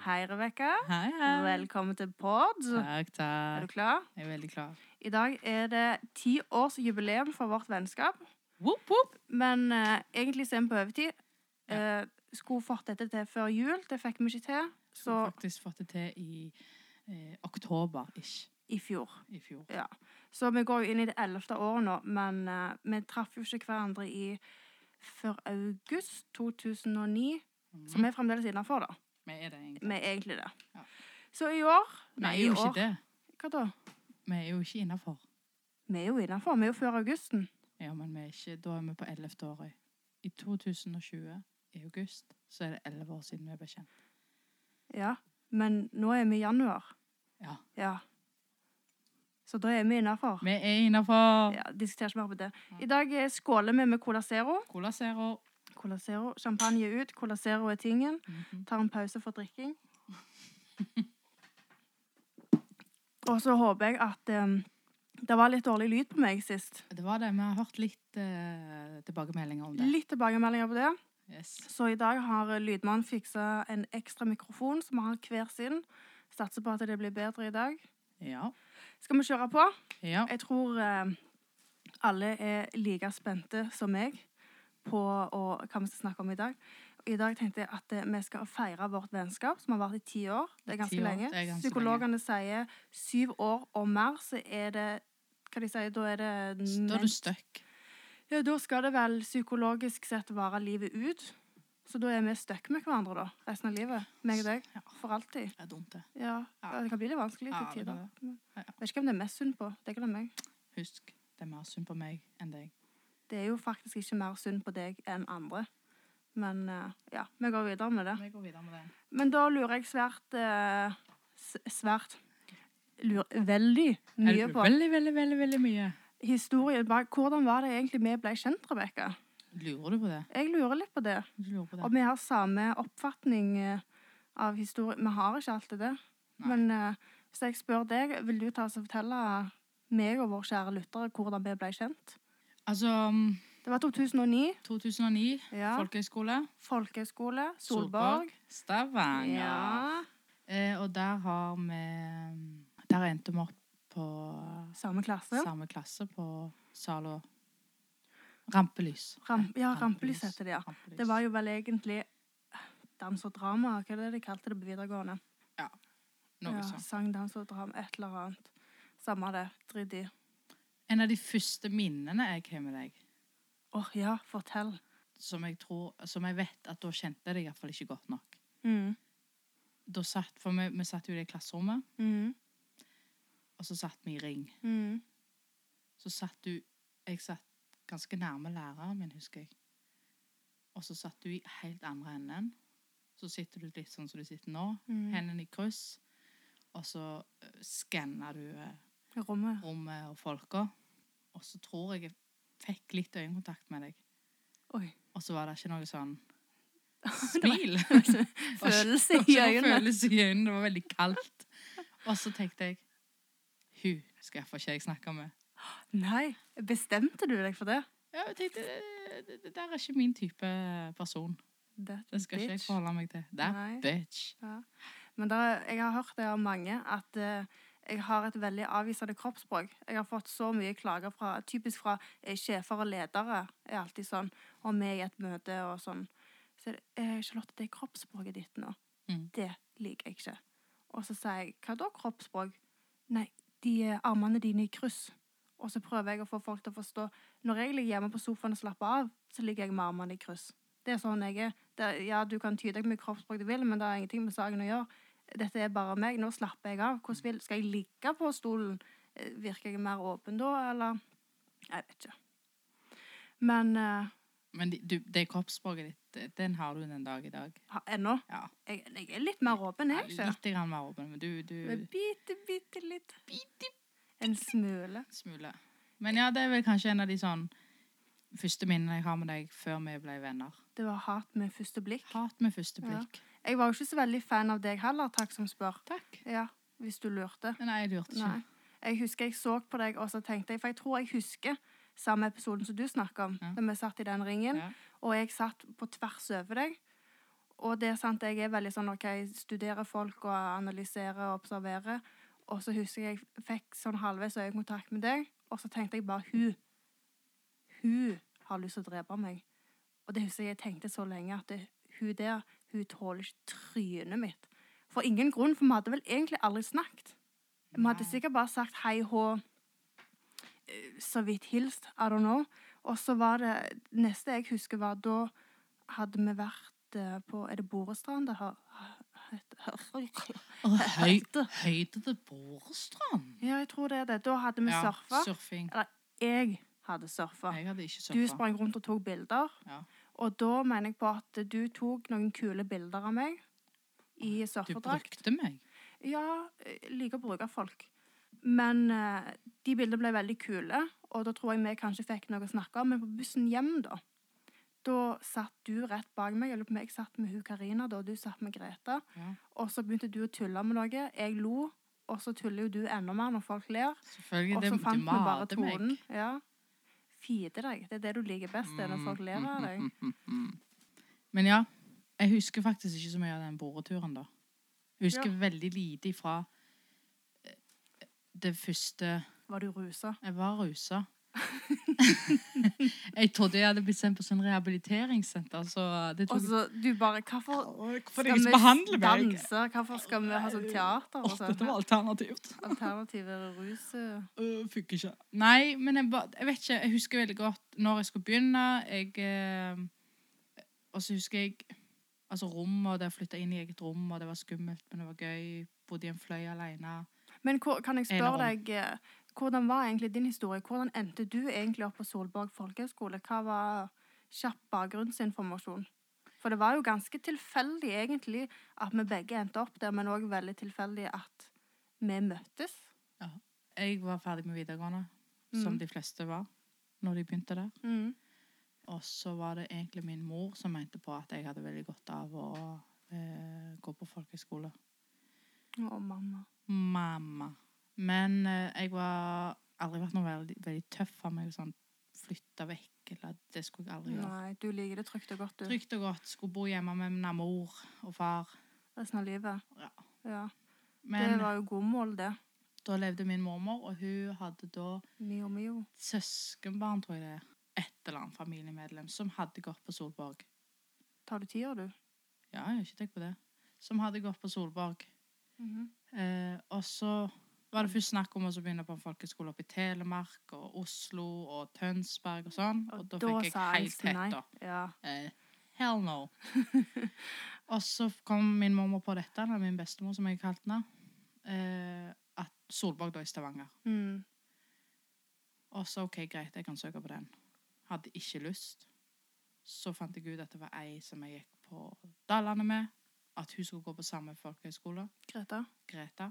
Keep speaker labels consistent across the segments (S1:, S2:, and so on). S1: Rebekka.
S2: Hei, hei.
S1: Velkommen til pod.
S2: Takk,
S1: Er du
S2: takk.
S1: klar?
S2: Jeg er veldig klar.
S1: I dag er det ti års jubileum for vårt vennskap.
S2: Whoop, whoop.
S1: Men eh, egentlig så er vi på overtid. Eh, skulle fått dette til før jul. Det fikk vi ikke til. Så
S2: Skulle faktisk fått det til i eh, oktober-ish
S1: i fjor.
S2: i fjor.
S1: Ja. Så vi går jo inn i det ellevte året nå, men eh, vi traff jo ikke hverandre i før august 2009. Så vi er fremdeles innafor, da.
S2: Vi Mm. er det egentlig.
S1: Vi er egentlig det.
S2: Mhm. Ja.
S1: Så i år
S2: Vi er jo
S1: i
S2: ikke
S1: år.
S2: det.
S1: Hva da?
S2: Vi er jo ikke innafor.
S1: Vi er jo innafor. Vi er jo før augusten.
S2: Ja, men vi er ikke, da er vi på 11. året. I 2020, i august, så er det 11 år siden vi ble kjent.
S1: Ja. Men nå er vi i januar.
S2: Ja.
S1: Ja. Så da er vi innafor.
S2: Vi er innafor.
S1: Ja, diskuterer ikke mer på det. I dag eh, skåler vi med Cola Zero.
S2: Cola Zero.
S1: Cola Zero. Champagne er ut. Cola Zero er tingen.
S2: Mhm.
S1: Tar en pause for drikking. Og så håper jeg at eh, det var litt dårlig lyd på meg sist.
S2: Det var det. Vi har hørt litt eh, tilbakemeldinger om det.
S1: Litt tilbakemeldinger på det.
S2: Yes.
S1: Så i dag har eh, lydmannen fiksa en ekstra mikrofon som vi har hver sin. Satser på at det blir bedre i dag.
S2: Ja.
S1: Skal vi kjøre på?
S2: ja.
S1: Jeg tror eh, alle er like spente som meg på å, hva vi skal snakke om i dag. I dag tenkte jeg at eh, vi skal feire vårt vennskap, som har vært i ti år. Det er ganske
S2: Ti år,
S1: lenge.
S2: det er ganske
S1: Psykologene sier syv år og mer, så er det Hva de sier, da er det
S2: Da er
S1: Ehm, men-
S2: du støkk.
S1: Ja, da skal det vel psykologisk sett vare livet ut. Så da er vi stuck med hverandre, da. Resten av livet. Meg og deg.
S2: Ja.
S1: For alltid.
S2: Det er dumt, det.
S1: Ja.
S2: Ja.
S1: Det kan bli litt vanskelig
S2: Ja, det
S1: til tider.
S2: kan Ja.
S1: Vet ikke hvem det er mest synd på. Deg eller meg.
S2: Husk, det er mer synd på meg enn deg.
S1: Det er jo faktisk ikke mer synd på deg enn andre. Men eh, ja, vi går videre med det.
S2: Vi går videre med det.
S1: Men da lurer jeg svært eh, s- Svært lurer, Veldig mye på
S2: Veldig, veldig, veldig, veldig mye.
S1: historien bak. Hvordan var det egentlig vi ble kjent, Rebekka?
S2: Lurer du på det?
S1: Jeg lurer litt på det.
S2: Du lurer på det?
S1: Og vi har samme oppfatning eh, av historie. Vi har ikke alltid det.
S2: Nei.
S1: Men eh, hvis jeg spør deg, vil du ta oss og fortelle meg og våre kjære lyttere hvordan vi ble kjent?
S2: Altså,
S1: Det var 2009.
S2: 2009,
S1: Ja.
S2: folkehøyskole.
S1: Folkehøyskole. Solborg.
S2: Stavanger.
S1: Ja.
S2: Eh, og der har vi mm, Der endte vi opp på
S1: Samme klasse.
S2: samme klasse på Zalo Rampelys.
S1: Ram ja,
S2: Rampelys.
S1: rampelys heter det, ja.
S2: Rampelys.
S1: Det var jo vel egentlig eh, dans og drama, hva er det de kalte det på videregående?
S2: Noe
S1: ja,
S2: sånt.
S1: sang, dans og drama, et eller annet. Samme det, dritt i.
S2: En av de første minnene jeg har med deg,
S1: Åh, ja, fortell.
S2: som jeg, tror, som jeg vet at da kjente jeg deg iallfall ikke godt nok.
S1: Mm.
S2: Da satt, for vi, vi satt jo i det klasserommet,
S1: Mm.
S2: og så satt vi i ring.
S1: Mm.
S2: Så satt du Jeg satt ganske nærme læreren min, husker jeg. Og så satt du i helt andre enden. Så sitter du litt sånn som du sitter nå.
S1: Mm.
S2: Hendene i kryss. Og så eh, skanner du eh,
S1: Rommet.
S2: rommet og folka. Og så tror jeg jeg fikk litt øyekontakt med deg.
S1: Oi.
S2: Og så var det ikke noe sånn smil.
S1: Følelse
S2: Det
S1: i
S2: var ikke noe
S1: øynene.
S2: følelse i øynene. Det var veldig kaldt. Og så tenkte jeg Hun skal iallfall ikke jeg snakke med.
S1: Nei, bestemte du deg for det?
S2: Ja, jeg tenkte, det, det- det der er ikke min type person.
S1: That
S2: Det skal ikke jeg
S1: bitch.
S2: forholde meg til. That
S1: Nei.
S2: bitch.
S1: Men da, jeg har hørt det av mange at eh, jeg har et veldig avvisende kroppsspråk. Jeg har fått så mye klager fra, typisk fra eh, sjefer og ledere, er alltid sånn, og vi i et møte og sånn. Så er det, eh, Charlotte, det er kroppsspråket ditt nå.
S2: Mm.
S1: Det liker jeg ikke. Og så sier jeg, hva da kroppsspråk? Nei, de eh, armene dine i kryss. Og så prøver jeg å få folk til å forstå. Når jeg ligger hjemme på sofaen og slapper av, så ligger jeg med armene i kryss. Det er sånn jeg er. Det, er- ja, du kan tyde deg med kroppsspråk du vil, men det har ingenting med saken å gjøre. Dette er bare meg. Nå slapper jeg av. Hvordan vil, skal jeg ligge på stolen? Eh, Virker jeg mer åpen da, eller? Jeg vet ikke. Men eh,
S2: Men de- du, det kroppsspråket ditt, det- den har du den dag i dag.
S1: ha- ennå.
S2: Ja.
S1: Jeg, jeg er litt mer åpen,
S2: Ja,
S1: jeg, ikke?
S2: Litt grann mer åpen, men du, du
S1: Men bitte, bitte litt. En smule.
S2: smule. Men ja, det er vel kanskje en av de sånn første minnene jeg har med deg før vi ble venner.
S1: Det var hat med første blikk.
S2: Hat med første blikk.
S1: Jeg var jo ikke så veldig fan av deg heller, takk som spør.
S2: Takk.
S1: Ja, hvis du lurte.
S2: Nei, jeg lurte
S1: Nei.
S2: ikke.
S1: Jeg husker jeg så på deg, og så tenkte jeg, for jeg tror jeg husker samme episoden som du snakket om,
S2: Ja.
S1: da vi satt i den ringen,
S2: Ja.
S1: og jeg satt på tvers over deg, Og det er sant, jeg er veldig sånn OK, jeg studerer folk og analyserer og observerer. Og så husker jeg jeg fikk sånn halvveis øyekontakt med deg, og så tenkte jeg bare hun Hun har lyst til å drepe meg. Og det husker jeg jeg tenkte så lenge at det, hun der, hun tåler ikke trynet mitt. For ingen grunn, for vi hadde vel egentlig aldri snakket. Vi hadde
S2: Nei.
S1: sikkert bare sagt hei hå, eh, så vidt hilst, I don't know. Og så var det Neste jeg husker, var da hadde vi vært eh, på Er det Borestrand det har- heter?
S2: Og høy, høyde til Borestrand.
S1: Ja, jeg tror det er det. Da hadde vi
S2: Ja,
S1: surfa.
S2: surfing.
S1: Jeg hadde surfa.
S2: Jeg hadde ikke
S1: Du
S2: surfa.
S1: sprang rundt og tok bilder.
S2: Ja.
S1: Og da mener jeg på at du tok noen kule bilder av meg i
S2: Du
S1: surfedrakt.
S2: brukte meg.
S1: Ja, jeg liker å bruke folk. Men eh, de bildene ble veldig kule, og da tror jeg vi kanskje fikk noe å snakke om. Men på bussen hjem, da, da satt du rett bak meg. Jeg lurer på om jeg satt med hun Karina, da, og du satt med Greta.
S2: Ja,
S1: Og så begynte du å tulle med noe. Jeg lo, og så tuller jo du enda mer når folk ler.
S2: selvfølgelig.
S1: Og
S2: Det,
S1: så
S2: du
S1: fant vi bare
S2: mater meg.
S1: tonen. Ja. Fide deg. Det er det du liker best, det er
S2: Mm.
S1: når folk ler av deg.
S2: Men ja, jeg husker faktisk ikke så mye av den boreturen, da. Jeg husker
S1: Ja.
S2: veldig lite ifra eh, det første
S1: Var du rusa?
S2: Jeg var rusa. jeg trodde jeg hadde blitt sendt på sånn rehabiliteringssenter, så det
S1: Og
S2: tok
S1: så du bare Hvorfor
S2: Hvorfor
S1: skal vi danse? Hvorfor skal vi ha sånn teater? Og
S2: Åh,
S1: sånn?
S2: dette var alternativt.
S1: Alternative rus eh.
S2: Øh, Fikk ikke. Nei, men jeg, ba, jeg vet ikke. Jeg husker veldig godt når jeg skulle begynne. Jeg, eh, og så husker jeg altså rommet, og jeg flytta inn i eget rom, og det var skummelt, men det var gøy. Bodde i en fløy alene.
S1: Men hvor, kan jeg spørre
S2: Eller
S1: deg eh, Hvordan var egentlig din historie? Hvordan endte du egentlig opp på Solborg folkehøgskole? Hva var kjapp bakgrunnsinformasjon? For det var jo ganske tilfeldig egentlig at vi begge endte opp der, men òg veldig tilfeldig at vi møttes.
S2: Jeg var ferdig med videregående, som
S1: Mhm.
S2: de fleste var når de begynte der.
S1: Mm.
S2: Og så var det egentlig min mor som mente på at jeg hadde veldig godt av å eh, gå på folkehøyskole.
S1: Å, mamma.
S2: Mamma. Men eh, jeg var aldri vært noe veldig, veldig tøff av meg. Sånn, Flytta vekk eller Det skulle jeg aldri gjøre.
S1: Nei, du liker det trygt og godt, du.
S2: Trygt og godt. Skulle bo hjemme med min mor og far.
S1: Resten av livet.
S2: Ja.
S1: Ja.
S2: Men
S1: det var jo gode mål, det.
S2: da levde min mormor, og hun hadde da
S1: Mio, mio.
S2: søskenbarn, tror jeg det er. Et eller annet familiemedlem som hadde gått på Solborg.
S1: Tar du tida, du?
S2: Ja, jeg har ikke tenkt på det. Som hadde gått på Solborg. Eh, og så var det først snakk om å så begynne på en folkeskole oppe i Telemark og Oslo og Tønsberg og sånn. Og, da fikk jeg helt
S1: angsten
S2: tett, da.
S1: Ja.
S2: Eh, hell no. og så kom min mormor på dette, eller min bestemor, som jeg kalte henne, eh, at Solborg da i Stavanger.
S1: Mm.
S2: Og så OK, greit, jeg kan søke på den. Hadde ikke lyst. Så fant jeg ut at det var ei som jeg gikk på Dalane med, at hun skulle gå på samme folkehøyskole.
S1: Greta?
S2: Greta.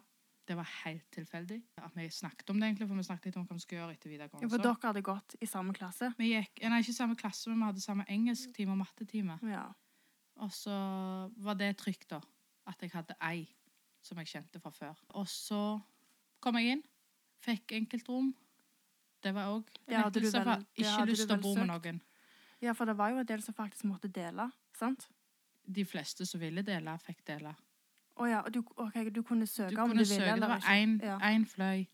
S2: Det var helt tilfeldig at vi snakket om det, egentlig, for vi snakket litt om hva vi skulle gjøre etter videregående.
S1: Ja, for
S2: Så
S1: dere hadde gått i samme klasse?
S2: Vi gikk, eh, nei, ikke samme klasse, men vi hadde samme engelsktime og mattetime.
S1: Ja.
S2: Og så var det trygt, da. At jeg hadde ei som jeg kjente fra før. Og så kom jeg inn, fikk enkeltrom. Det var òg
S1: Det hadde du vel- det
S2: Ikke
S1: hadde du
S2: lyst til å
S1: vel
S2: bo med
S1: søkt?
S2: noen.
S1: Ja, for det var jo en del som faktisk måtte dele, sant?
S2: De fleste som ville dele, fikk dele.
S1: Å ja, og du, ok, du kunne søke
S2: Du
S1: om
S2: kunne
S1: du ville
S2: søke. Det
S1: eller
S2: var
S1: ikke.
S2: én
S1: Ja.
S2: én fløy.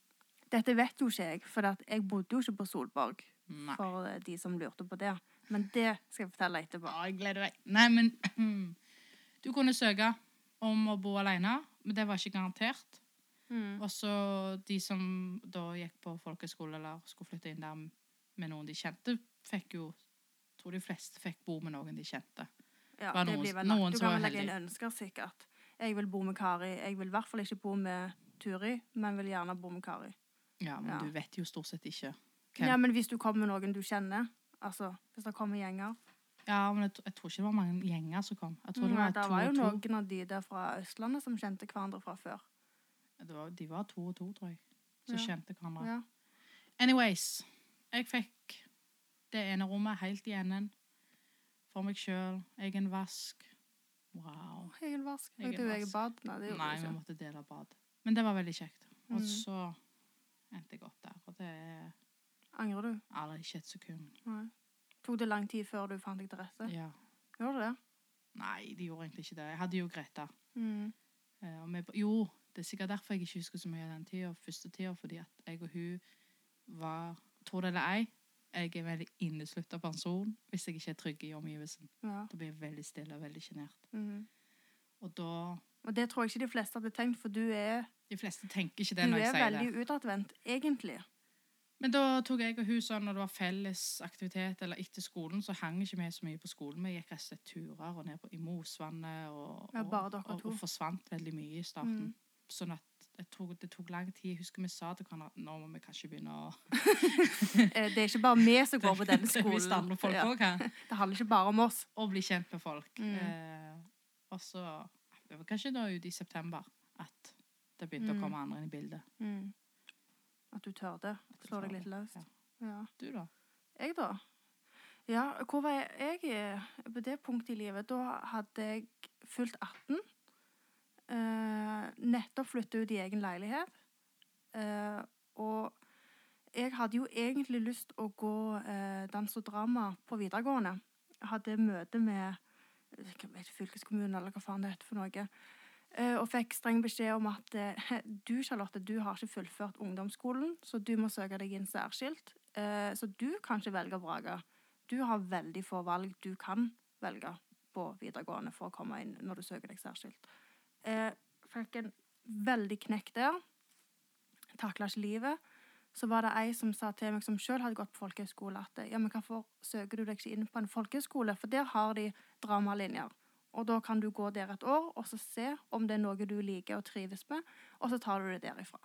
S1: Dette vet jo ikke jeg, for at jeg bodde jo ikke på Solborg,
S2: Nei.
S1: for eh, de som lurte på det. Men det skal jeg fortelle etterpå.
S2: Ja, jeg gleder meg. Nei, men Du kunne søke om å bo alene, men det var ikke garantert.
S1: Mm.
S2: Og så de som da gikk på folkeskole eller skulle flytte inn der med noen de kjente, fikk jo jeg tror de fleste fikk bo med noen de kjente.
S1: Ja,
S2: var
S1: det
S2: noen-
S1: blir vel lagt.
S2: noen
S1: Du
S2: som
S1: kan
S2: var
S1: vel legge inn
S2: heldige.
S1: ønsker sikkert. Jeg vil bo med Kari. Jeg vil i hvert fall ikke bo med Turi, men vil gjerne bo med Kari.
S2: Ja, Men
S1: Ja.
S2: du vet jo stort sett ikke. Hvem?
S1: Ja, men hvis du kommer med noen du kjenner, altså hvis det kommer gjenger
S2: Ja, men jeg, tr- jeg tror ikke det var mange gjenger som kom. Jeg tror det
S1: Nei,
S2: var
S1: der
S2: to
S1: var jo
S2: og to.
S1: noen av de der fra Østlandet som kjente hverandre fra før.
S2: Det var, de var to og to, tror jeg, som
S1: Ja.
S2: kjente hverandre.
S1: Ja.
S2: Anyways, jeg fikk det ene rommet helt i enden. For meg sjøl. Egen vask. Wow.
S1: Egen vask.
S2: Egen
S1: Egen vask.
S2: vask.
S1: bad. Nei, det gjorde
S2: Nei, vi
S1: jeg ikke.
S2: måtte dele bad. Men det var veldig kjekt. Og
S1: Mm.
S2: så endte jeg opp der. Og det er
S1: Angrer du?
S2: aldri ikke et sekund.
S1: Nei. Tok det lang tid før du fant deg til rette?
S2: Ja.
S1: Gjorde det?
S2: Nei, de gjorde egentlig ikke det. Jeg hadde jo Greta.
S1: Mm.
S2: Eh, og vi, ba- jo, det er sikkert derfor jeg ikke husker så mye av den tida, første tida, fordi at jeg og hun var Tro det eller ei, jeg er en veldig inneslutta person hvis jeg ikke er trygg i omgivelsen.
S1: Ja.
S2: Da blir jeg veldig stille og veldig sjenert.
S1: Mm.
S2: Og da
S1: Og det tror jeg ikke de fleste hadde tenkt, for du er,
S2: De fleste tenker ikke
S1: du
S2: det når jeg
S1: er
S2: sier
S1: veldig
S2: det.
S1: utadvendt, egentlig.
S2: Men da tok jeg og hun sånn når det var felles aktivitet eller etter skolen, så hang ikke vi så mye på skolen. Vi gikk rett og slett turer og ned på, i Mosvannet og,
S1: Ja,
S2: og,
S1: bare dere
S2: og,
S1: to. Mm.
S2: og forsvant veldig mye i starten. Sånn at det tok, det tok lang tid. Jeg husker vi sa til hverandre at nå må vi kanskje begynne å
S1: Eh, Det er ikke bare vi som går på denne
S2: Det er visst
S1: skolen.
S2: andre folk
S1: Ja,
S2: også, hæ?
S1: det handler ikke bare om oss.
S2: Og bli kjent med folk.
S1: Mm.
S2: Eh, og så Det var kanskje da ute i september at det begynte
S1: Mm.
S2: å komme andre inn i bildet.
S1: At du tørde. Slå deg litt løs.
S2: Ja.
S1: Ja.
S2: Du, da?
S1: Jeg, da? Ja, hvor var jeg, jeg eh, på det punktet i livet? Da hadde jeg fylt 18. eh, nettopp flytta ut i egen leilighet. eh, og jeg hadde jo egentlig lyst å gå eh, dans og drama på videregående. Jeg hadde møte med eh, hva vet, fylkeskommunen, eller hva faen det heter for noe. eh, og fikk streng beskjed om at eh, du, Charlotte, du har ikke fullført ungdomsskolen, så du må søke deg inn særskilt. Eh, så du kan ikke velge og vrake. Du har veldig få valg du kan velge på videregående for å komme inn når du søker deg særskilt. Eh, fikk en veldig knekk der. Takla ikke livet. Så var det ei som sa til meg, som sjøl hadde gått på folkehøyskole, at ja, men hvorfor søker du deg ikke inn på en folkehøyskole, for der har de dramalinjer. Og da kan du gå der et år og så se om det er noe du liker og trives med, og så tar du det derifra.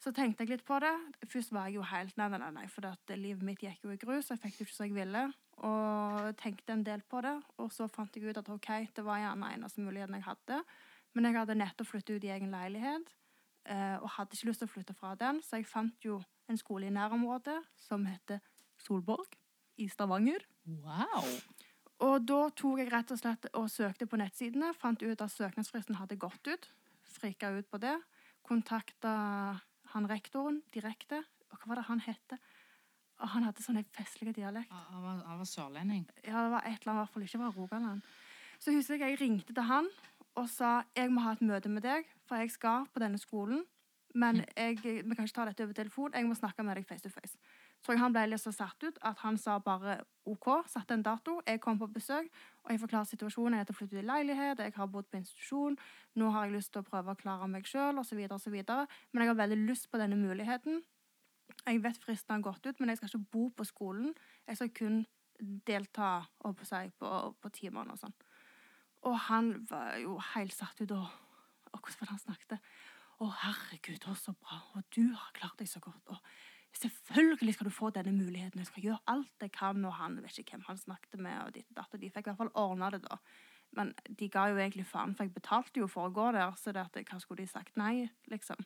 S1: Så tenkte jeg litt på det. Først var jeg jo helt nei, nei, nei, nei for at livet mitt gikk jo i grus. Jeg fikk det ikke som jeg ville, og tenkte en del på det. Og så fant jeg ut at OK, det var gjerne eneste muligheten jeg hadde. Men jeg hadde nettopp flyttet ut i egen leilighet eh, og hadde ikke lyst til å flytte fra den, så jeg fant jo en skole i nærområdet som heter Solborg i Stavanger.
S2: Wow!
S1: Og da tok jeg rett og slett og søkte på nettsidene, fant ut at søknadsfristen hadde gått ut, frika ut på det, kontakta han rektoren direkte, og hva var det han hette? Og han hadde sånn en festlig dialekt.
S2: Han han var, han var sørlending.
S1: Ja, det var et eller annet, i hvert fall ikke var Rogaland. Så husker jeg jeg ringte til han og sa jeg må ha et møte med deg, for jeg skal på denne skolen. Men jeg, vi kan ikke ta dette over telefon, jeg må snakke med deg face to face. Så jeg han ble litt så satt ut at han sa bare OK, satte en dato, jeg kom på besøk, og jeg forklarer situasjonen, jeg har flyttet i leilighet, jeg har bodd på institusjon, nå har jeg lyst til å prøve å klare meg sjøl, osv., osv. Men jeg har veldig lyst på denne muligheten. Jeg vet fristen har gått ut, men jeg skal ikke bo på skolen. Jeg skal kun delta holdt på, å si, på, på timene og sånn. Og han var jo helt satt ut, og, og hvordan var det han snakket? Å, herregud, å, så bra, og du har klart deg så godt. Og selvfølgelig skal du få denne muligheten, jeg skal gjøre alt jeg kan. Og han vet ikke hvem han snakket med, og ditt og datt, og de fikk i hvert fall ordna det, da. Men de ga jo egentlig faen, for jeg betalte jo for å gå der, så det at, hva skulle de sagt nei, liksom.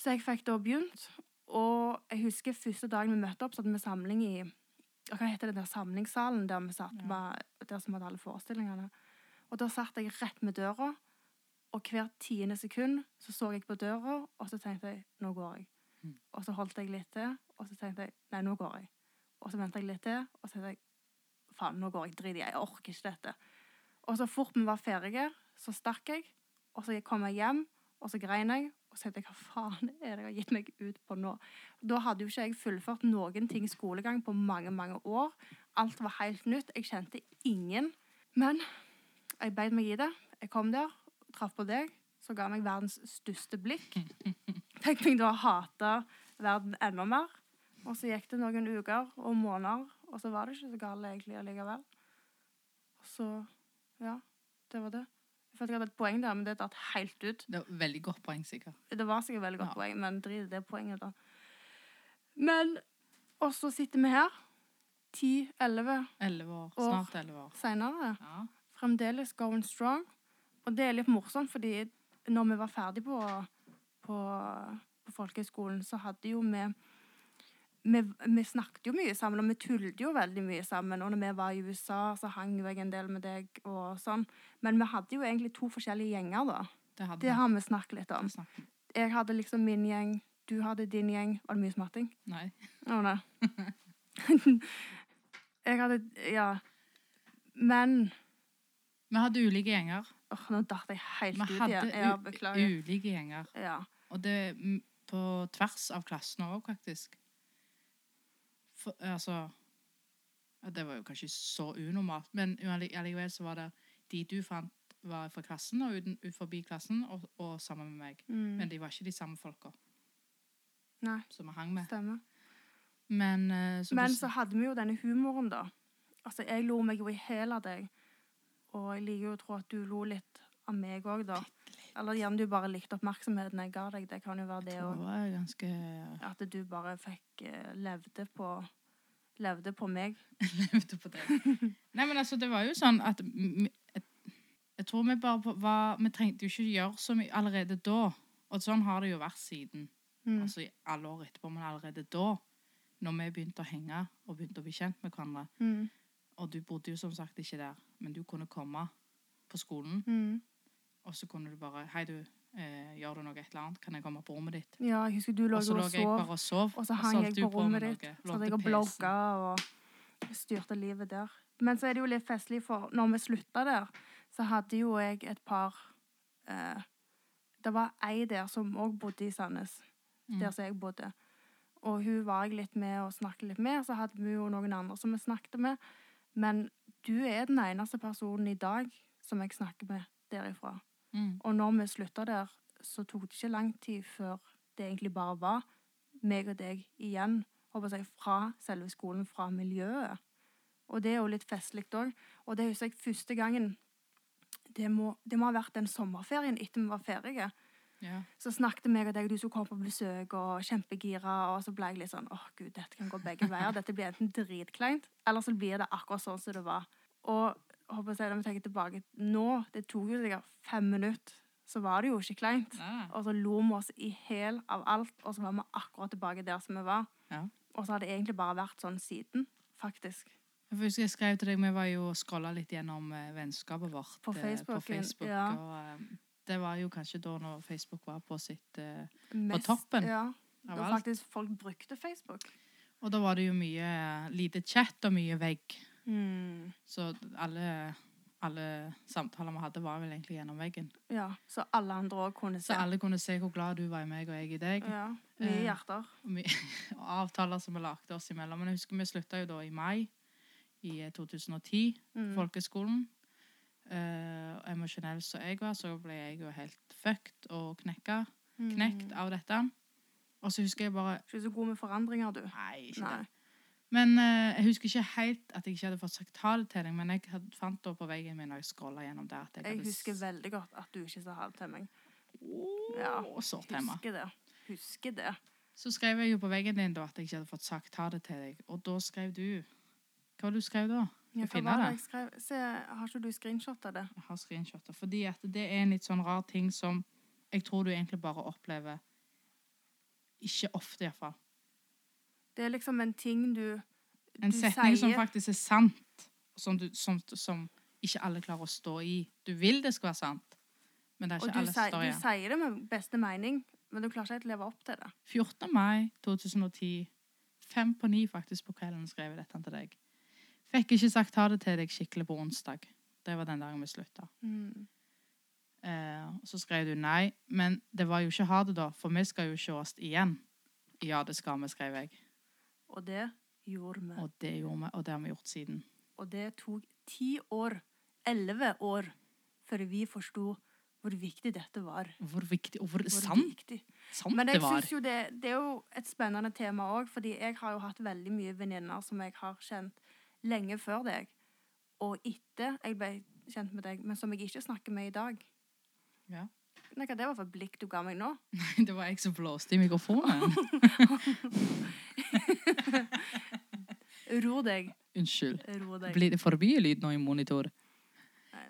S1: Så jeg fikk da begynt, og jeg husker første dagen vi møtte opp, så hadde vi samling i og hva heter det der samlingssalen der vi satt
S2: Ja.
S1: med, der som hadde alle forestillingene. Og da satt jeg rett med døra, og hvert tiende sekund så så jeg på døra, og så tenkte jeg, nå går jeg.
S2: Mm.
S1: Og så holdt jeg litt til, og så tenkte jeg, nei, nå går jeg. Og så ventet jeg litt til, og så tenkte jeg, faen, nå går jeg drit i, jeg orker ikke dette. Og så fort vi var ferdige, så stakk jeg, og så kom jeg hjem, og så grein jeg, og så tenkte jeg, hva faen er det jeg har gitt meg ut på nå? Da hadde jo ikke jeg fullført noen ting skolegang på mange, mange år. Alt var helt nytt. Jeg kjente ingen. Men jeg beit meg i det. Jeg kom der, traff på deg, så ga meg verdens største blikk. Fikk meg da hate verden enda mer. Og så gikk det noen uker og måneder, og så var det ikke så galt egentlig allikevel. Og så Ja, det var det. Jeg følte jeg hadde et poeng der, men det datt helt ut.
S2: Det var Veldig godt poeng, sikkert.
S1: Det var sikkert veldig godt
S2: Ja.
S1: poeng, men drit i det poenget, da. Men Og så sitter vi her, 10-11
S2: Elleve år.
S1: År.
S2: Snart elleve år.
S1: seinere,
S2: Ja.
S1: fremdeles going strong. Og det er litt morsomt, fordi når vi var ferdig på, på, på folkehøyskolen, så hadde jo vi vi, vi snakket jo mye sammen, og vi tullet jo veldig mye sammen. Og når vi var i USA, så hang jo jeg en del med deg og sånn. Men vi hadde jo egentlig to forskjellige gjenger, da.
S2: Det hadde
S1: Det
S2: vi
S1: har vi snakket litt om.
S2: ikke snakket om.
S1: jeg hadde liksom min gjeng, du hadde din gjeng. Var det mye smatting?
S2: Nei.
S1: Å nei. jeg hadde Ja. Men
S2: Vi hadde ulike gjenger.
S1: Åh, nå datt jeg helt
S2: Vi
S1: ut
S2: hadde
S1: igjen. Ja,
S2: u-
S1: beklager.
S2: ulike gjenger.
S1: Ja.
S2: Og det er m- på tvers av klassen òg, faktisk. For, altså ja, Det var jo kanskje ikke så unormalt, men ualli- allikevel så var det de du fant, var fra klassen og uten, ut forbi klassen, og, og sammen med meg.
S1: Mm.
S2: Men de var ikke de samme folka
S1: Nei,
S2: som vi hang med.
S1: stemmer.
S2: Men, eh, så
S1: Men
S2: bes-
S1: så hadde vi jo denne humoren, da. Altså, jeg lo meg jo i hæl av deg. Og jeg liker jo å tro at du lo litt av meg òg, da. Eller gjerne du bare likte oppmerksomheten jeg ga deg. Det kan jo være det
S2: det
S1: òg.
S2: var ganske eh,
S1: At du bare fikk eh, levde på Levde på meg.
S2: ute på det. Nei, men altså, det var jo sånn at m- jeg, jeg tror vi bare på- var Vi trengte jo ikke gjøre så mye allerede da. Og sånn har det jo vært siden.
S1: Mm.
S2: Altså i alle år etterpå, men allerede da, når vi begynte å henge og begynte å bli kjent med hverandre
S1: Mm.
S2: Og du bodde jo som sagt ikke der, men du kunne komme på skolen,
S1: Mm.
S2: og så kunne du bare 'Hei, du, eh, gjør du noe et eller annet? Kan jeg komme på rommet ditt?'
S1: Ja, jeg husker du lå
S2: Og så
S1: jo
S2: lå
S1: og
S2: jeg bare
S1: sov,
S2: og sov.
S1: og så hang jeg
S2: solgte
S1: på
S2: jo med
S1: rommet ditt.
S2: noe, lånte
S1: Så hadde jeg og
S2: PC-en.
S1: blogga og styrte livet der. Men så er det jo litt festlig, for når vi slutta der, så hadde jo jeg et par eh, Det var ei der som òg bodde i Sandnes,
S2: Mm.
S1: der som jeg bodde. Og hun var jeg litt med og snakket litt med. Så hadde vi jo noen andre som vi snakket med. Men du er den eneste personen i dag som jeg snakker med derifra.
S2: Mm.
S1: Og når vi slutta der, så tok det ikke lang tid før det egentlig bare var meg og deg igjen. Håper jeg, fra selve skolen, fra miljøet. Og det er jo litt festlig òg. Og det husker jeg første gangen det må, det må ha vært den sommerferien etter vi var ferdige.
S2: Ja.
S1: Så snakket meg og deg, du skulle komme på besøk og kjempegira. Og så ble jeg litt sånn åh gud, dette kan gå begge veier. Dette blir enten dritkleint, eller så blir det akkurat sånn som det var. Og jeg håper å si, når vi tenker tilbake nå, det tok jo sikkert fem minutter, så var det jo ikke kleint.
S2: Nei.
S1: Og så lo vi oss i hæl av alt, og så var vi akkurat tilbake der som vi var.
S2: Ja.
S1: Og så har det egentlig bare vært sånn siden, faktisk.
S2: Jeg husker jeg skrev til deg, vi var jo og scrolla litt gjennom eh, vennskapet vårt
S1: På
S2: eh,
S1: Facebooken,
S2: På Facebook
S1: ja.
S2: og, eh, det var jo kanskje da når Facebook var på sitt eh,
S1: Mest-
S2: toppen
S1: Ja.
S2: av
S1: Da
S2: alt.
S1: faktisk folk brukte Facebook.
S2: Og da var det jo mye eh, lite chat og mye vegg. Så alle, alle samtaler vi hadde, var vel egentlig gjennom veggen.
S1: Ja, Så alle andre òg kunne
S2: Så
S1: se.
S2: alle kunne se hvor glad du var i meg og jeg i deg.
S1: Ja, Mye
S2: Eh,
S1: hjerter.
S2: Og mye- og avtaler som vi lagde oss imellom. Men jeg husker vi slutta jo da i mai i eh, 2010.
S1: Mm.
S2: folkeskolen. Eh, og emosjonell som jeg var, så ble jeg jo helt fucked og knekka, knekt
S1: Mm.
S2: av dette. Og så husker jeg bare
S1: Ikke så god med forandringer, du.
S2: Nei, ikke
S1: Nei.
S2: det. Men eh, jeg husker ikke helt at jeg ikke hadde fått sagt ha det til deg, men jeg had, fant da på veggen min når jeg scrolla gjennom der at jeg,
S1: Jeg
S2: hadde
S1: husker veldig godt at du ikke sa ha det til meg.
S2: ja.
S1: Ja.
S2: sårt hjemme.
S1: Husker det. Husker det.
S2: Så skrev jeg jo på veggen din da at jeg ikke hadde fått sagt ha det til deg, og da skrev du Hva var det du skrev da?
S1: Ja,
S2: Jeg
S1: hva
S2: finner
S1: var det
S2: det.
S1: jeg skrev? Se, har ikke du screenshot av det?
S2: Jeg har screenshotter. Fordi at det er en litt sånn rar ting som jeg tror du egentlig bare opplever Ikke ofte, iallfall.
S1: Det er liksom en ting du
S2: En
S1: Du
S2: setning som
S1: sier-
S2: faktisk er sant, som, du, som, som ikke alle klarer å stå i. Du vil det skal være sant, men det er
S1: Og
S2: ikke
S1: du,
S2: alle
S1: sier-
S2: står i.
S1: du sier det med beste mening, men du klarer ikke helt å leve opp til det.
S2: 14. mai 2010, fem på ni faktisk på kvelden, skrev jeg dette til deg. Fikk ikke sagt ha det til deg skikkelig på onsdag. Det var den dagen vi slutta.
S1: Mm.
S2: Eh, så skrev du nei, men det var jo ikke ha det, da, for vi skal jo sees igjen. Ja, det skal vi, skrev jeg.
S1: Og det gjorde vi.
S2: Og det gjorde vi, og det har vi gjort siden.
S1: Og det tok ti år, elleve år, før vi forsto hvor viktig dette var.
S2: Hvor viktig, og hvor,
S1: Hvor
S2: sant,
S1: viktig.
S2: sant
S1: Men jeg
S2: det var.
S1: synes jo det, det er jo et spennende tema òg, fordi jeg har jo hatt veldig mye venninner som jeg har kjent lenge før deg, og etter jeg ble kjent med deg, men som jeg ikke snakker med i dag.
S2: Ja.
S1: Nei, hva det var for et blikk du ga meg nå?
S2: Nei, det var jeg som blåste i mikrofonen.
S1: Ro deg.
S2: Unnskyld.
S1: Ro deg.
S2: Blir det forbi lyd nå i monitor?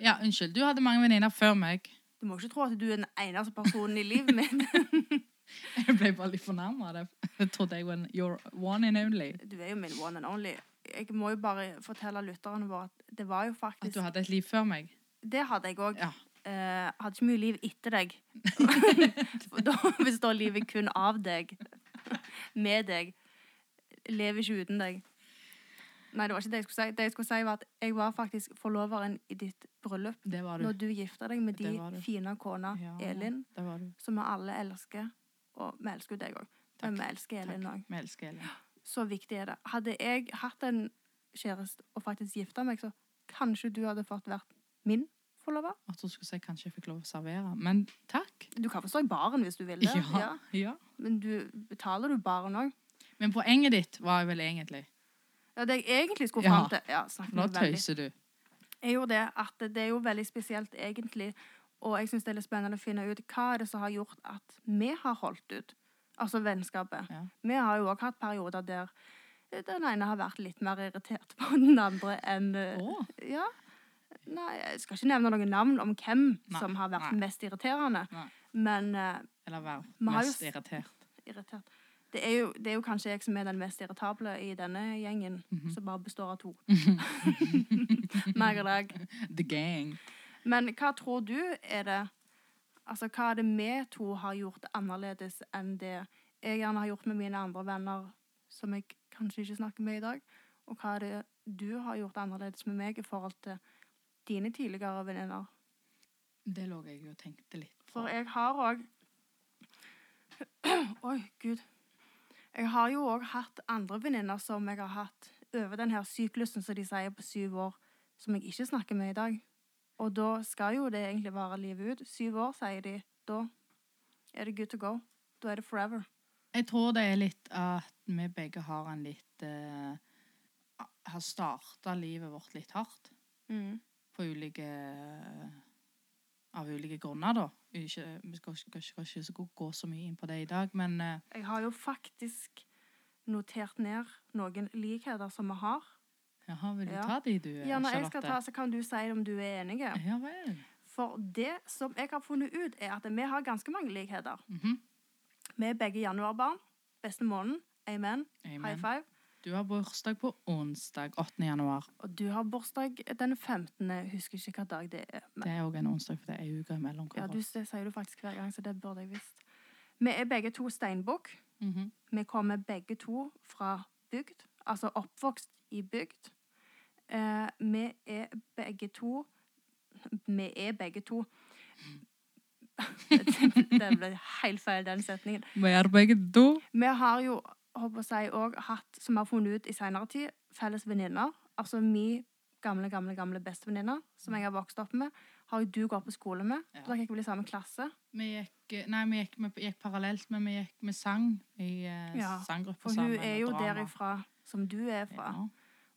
S2: Ja, unnskyld. Du hadde mange venninner før meg.
S1: Du må ikke tro at du er den eneste personen i livet mitt.
S2: Jeg ble bare litt fornærma. Jeg trodde jeg var en your one and only.
S1: Du er jo min one and only. Jeg må jo bare fortelle lytterne våre at det var jo
S2: At
S1: faktisk
S2: du hadde et liv før meg.
S1: Det hadde jeg òg.
S2: Ja.
S1: Eh, hadde ikke mye liv etter deg. For da består livet kun av deg. Med deg. Lever ikke uten deg. Nei, det var ikke det jeg skulle si. Det jeg skulle si var at jeg var faktisk forloveren i ditt bryllup.
S2: Det var du.
S1: Når du gifta deg med
S2: Det
S1: de
S2: var du.
S1: fine kona
S2: Ja,
S1: Elin,
S2: Det var du.
S1: som vi alle elsker. Og vi elsker jo deg òg, men vi
S2: Takk.
S1: elsker Elin òg.
S2: Takk. Vi elsker Elin.
S1: Så viktig er det. Hadde jeg hatt en kjæreste og faktisk gifta meg, så kanskje du hadde fått vært min forlover.
S2: Jeg trodde du skulle si kanskje jeg fikk lov å servere, men takk.
S1: Du kan få stå i baren hvis du vil det.
S2: Ja, ja.
S1: Men du betaler du baren òg?
S2: Men poenget ditt var vel egentlig
S1: Ja, det jeg egentlig skulle
S2: Ja.
S1: fram til ja, snakket
S2: Nå
S1: vi veldig.
S2: tøyser du.
S1: er jo det at det er jo veldig spesielt egentlig, og jeg synes det er litt spennende å finne ut hva er det som har gjort at vi har holdt ut, altså vennskapet.
S2: Ja.
S1: Vi har jo også hatt perioder der den ene har vært litt mer irritert på den andre enn... eh,
S2: Å,
S1: Ja, nei, jeg skal ikke nevne noen navn om hvem
S2: Nei,
S1: som har vært
S2: nei.
S1: mest irriterende,
S2: Nei.
S1: men eh,
S2: eller vær
S1: Vi har jo
S2: mest
S1: s-
S2: irritert.
S1: irritert. Det er, jo, det er jo kanskje jeg som er den mest irritable i denne gjengen, som bare består av to. Meg og deg.
S2: The gang.
S1: Men hva tror du er det Altså, hva er det vi to har gjort annerledes enn det jeg gjerne har gjort med mine andre venner, som jeg kanskje ikke snakker med i dag? Og hva er det du har gjort annerledes med meg i forhold til dine tidligere venninner?
S2: Det lå jeg jo og tenkte litt på.
S1: For jeg har òg Oi, gud. Jeg har jo òg hatt andre venninner som jeg har hatt over den her syklusen som de sier på syv år, som jeg ikke snakker med i dag. Og da skal jo det egentlig vare livet ut. Syv år, sier de. Da er det good to go. Da er det forever.
S2: Jeg tror det er litt at vi begge har en litt eh, Har starta livet vårt litt hardt.
S1: Mm.
S2: På ulike Av ulike grunner, da. Ikke, vi skal ikke, skal ikke så gå så mye inn på det i dag, men eh,
S1: Jeg har jo faktisk notert ned noen likheter som vi har.
S2: Jaha, vil du
S1: Ja.
S2: ta de, du,
S1: Ja, når jeg skal ta,
S2: Charlotte?
S1: så kan du si om du er enig.
S2: Ja vel.
S1: For det som jeg har funnet ut, er at vi har ganske mange likheter.
S2: Mhm.
S1: Vi er begge januarbarn. Beste måneden. Amen. High
S2: Amen.
S1: five.
S2: Du har bursdag på onsdag 8. januar.
S1: Og du har bursdag den 15. Jeg husker ikke hva dag det er. Men
S2: Det er òg en onsdag, for det er ei uke imellom.
S1: ja, du, det sier du faktisk hver gang, så det burde jeg visst. Vi er begge to steinbukk.
S2: Mhm.
S1: Vi kommer begge to fra bygd, altså oppvokst i bygd. Eh, vi er begge to Vi er begge to Den ble helt feil, den setningen.
S2: Vi er begge to.
S1: Vi har jo håper jeg, også hatt, som vi har funnet ut i senere tid, felles venninner. Altså min gamle, gamle, gamle bestevenninne, som jeg har vokst opp med, har jo du gått på skole med.
S2: Ja.
S1: Dere gikk vel i samme klasse?
S2: Vi gikk, eh, nei, vi gikk, vi gikk parallelt, men vi gikk med sang i eh,
S1: Ja,
S2: sanggruppe
S1: For
S2: sammen.
S1: hun er
S2: og
S1: jo
S2: drama.
S1: derifra som du er fra.
S2: Ja.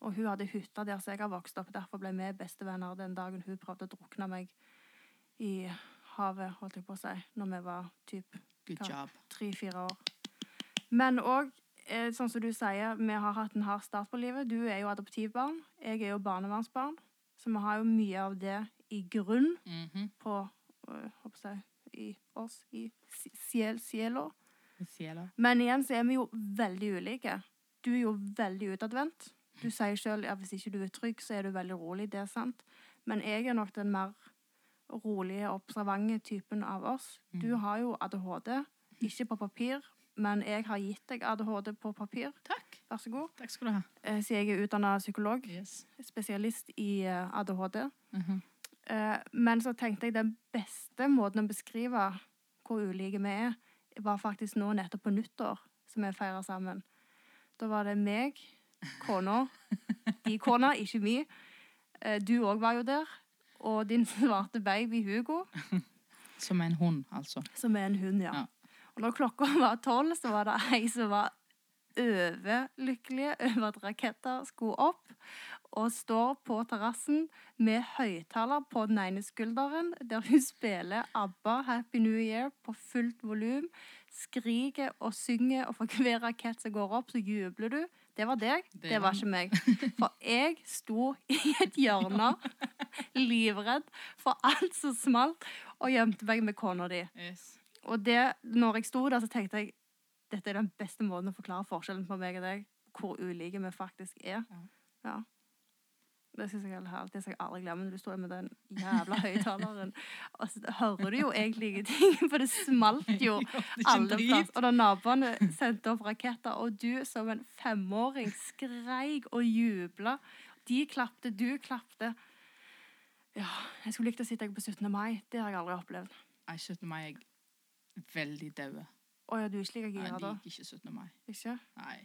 S1: Og hun hadde hytta der som jeg har vokst opp. Derfor ble vi bestevenner den dagen hun prøvde å drukne meg i havet, holdt jeg på å si, når vi var typ
S2: Good
S1: Ja.
S2: job.
S1: tre-fire år. Men òg, eh, sånn som du sier, vi har hatt en hard start på livet. Du er jo adoptivbarn, jeg er jo barnevernsbarn. Så vi har jo mye av det i grunn
S2: Mhm.
S1: på øh, håper jeg, i oss, i si- sjel, sjela.
S2: Vi sier det.
S1: Men igjen så er vi jo veldig ulike. Du er jo veldig utadvendt. Du sier sjøl at ja, hvis ikke du er trygg, så er du veldig rolig. Det er sant. Men jeg er nok den mer rolige, observante typen av oss. Du
S2: Mhm.
S1: har jo ADHD. Ikke på papir, men jeg har gitt deg ADHD på papir.
S2: Takk.
S1: Vær så god.
S2: Takk skal du ha.
S1: Eh, Så jeg er utdanna psykolog,
S2: Yes.
S1: spesialist i eh, ADHD.
S2: Mhm.
S1: Eh, Men så tenkte jeg den beste måten å beskrive hvor ulike vi er, var faktisk nå nettopp på nyttår, som vi feira sammen. Da var det meg, kona, de kona, ikke vi. Eh, Du òg var jo der. Og din svarte baby Hugo,
S2: Som en hund, altså.
S1: som er en hund, ja.
S2: Ja.
S1: Og når klokka var tolv, så var det ei som var overlykkelig over at raketter skulle opp, og står på terrassen med høyttaler på den ene skulderen, der hun spiller ABBA Happy New Year på fullt volum, skriker og synger, og for hver rakett som går opp, så jubler du. Det var deg,
S2: Det
S1: det
S2: var-
S1: var ikke meg. For jeg sto i et hjørne, livredd for alt som smalt, og gjemte meg med kona di.
S2: Yes.
S1: Og det, når jeg sto der, så tenkte jeg dette er den beste måten å forklare forskjellen på meg og deg. Hvor ulike vi faktisk er.
S2: Ja.
S1: Ja. Det synes jeg er helt- det skal jeg aldri glemme når du står med den jævla høyttaleren. Og så hører du jo egentlig ingenting, for det smalt jo
S2: Det er ikke en
S1: alle
S2: drit.
S1: plass. Og da naboene sendte opp raketter, og du som en femåring skreik og jubla. De klapte, du klapte. Ja, jeg skulle likt å sitte på 17. mai. Det har jeg aldri opplevd.
S2: Nei, 17. mai er jeg veldig daue.
S1: Å ja, du er ikke like
S2: Jeg
S1: gira da?
S2: liker ikke 17. mai.
S1: Ikke?
S2: Nei.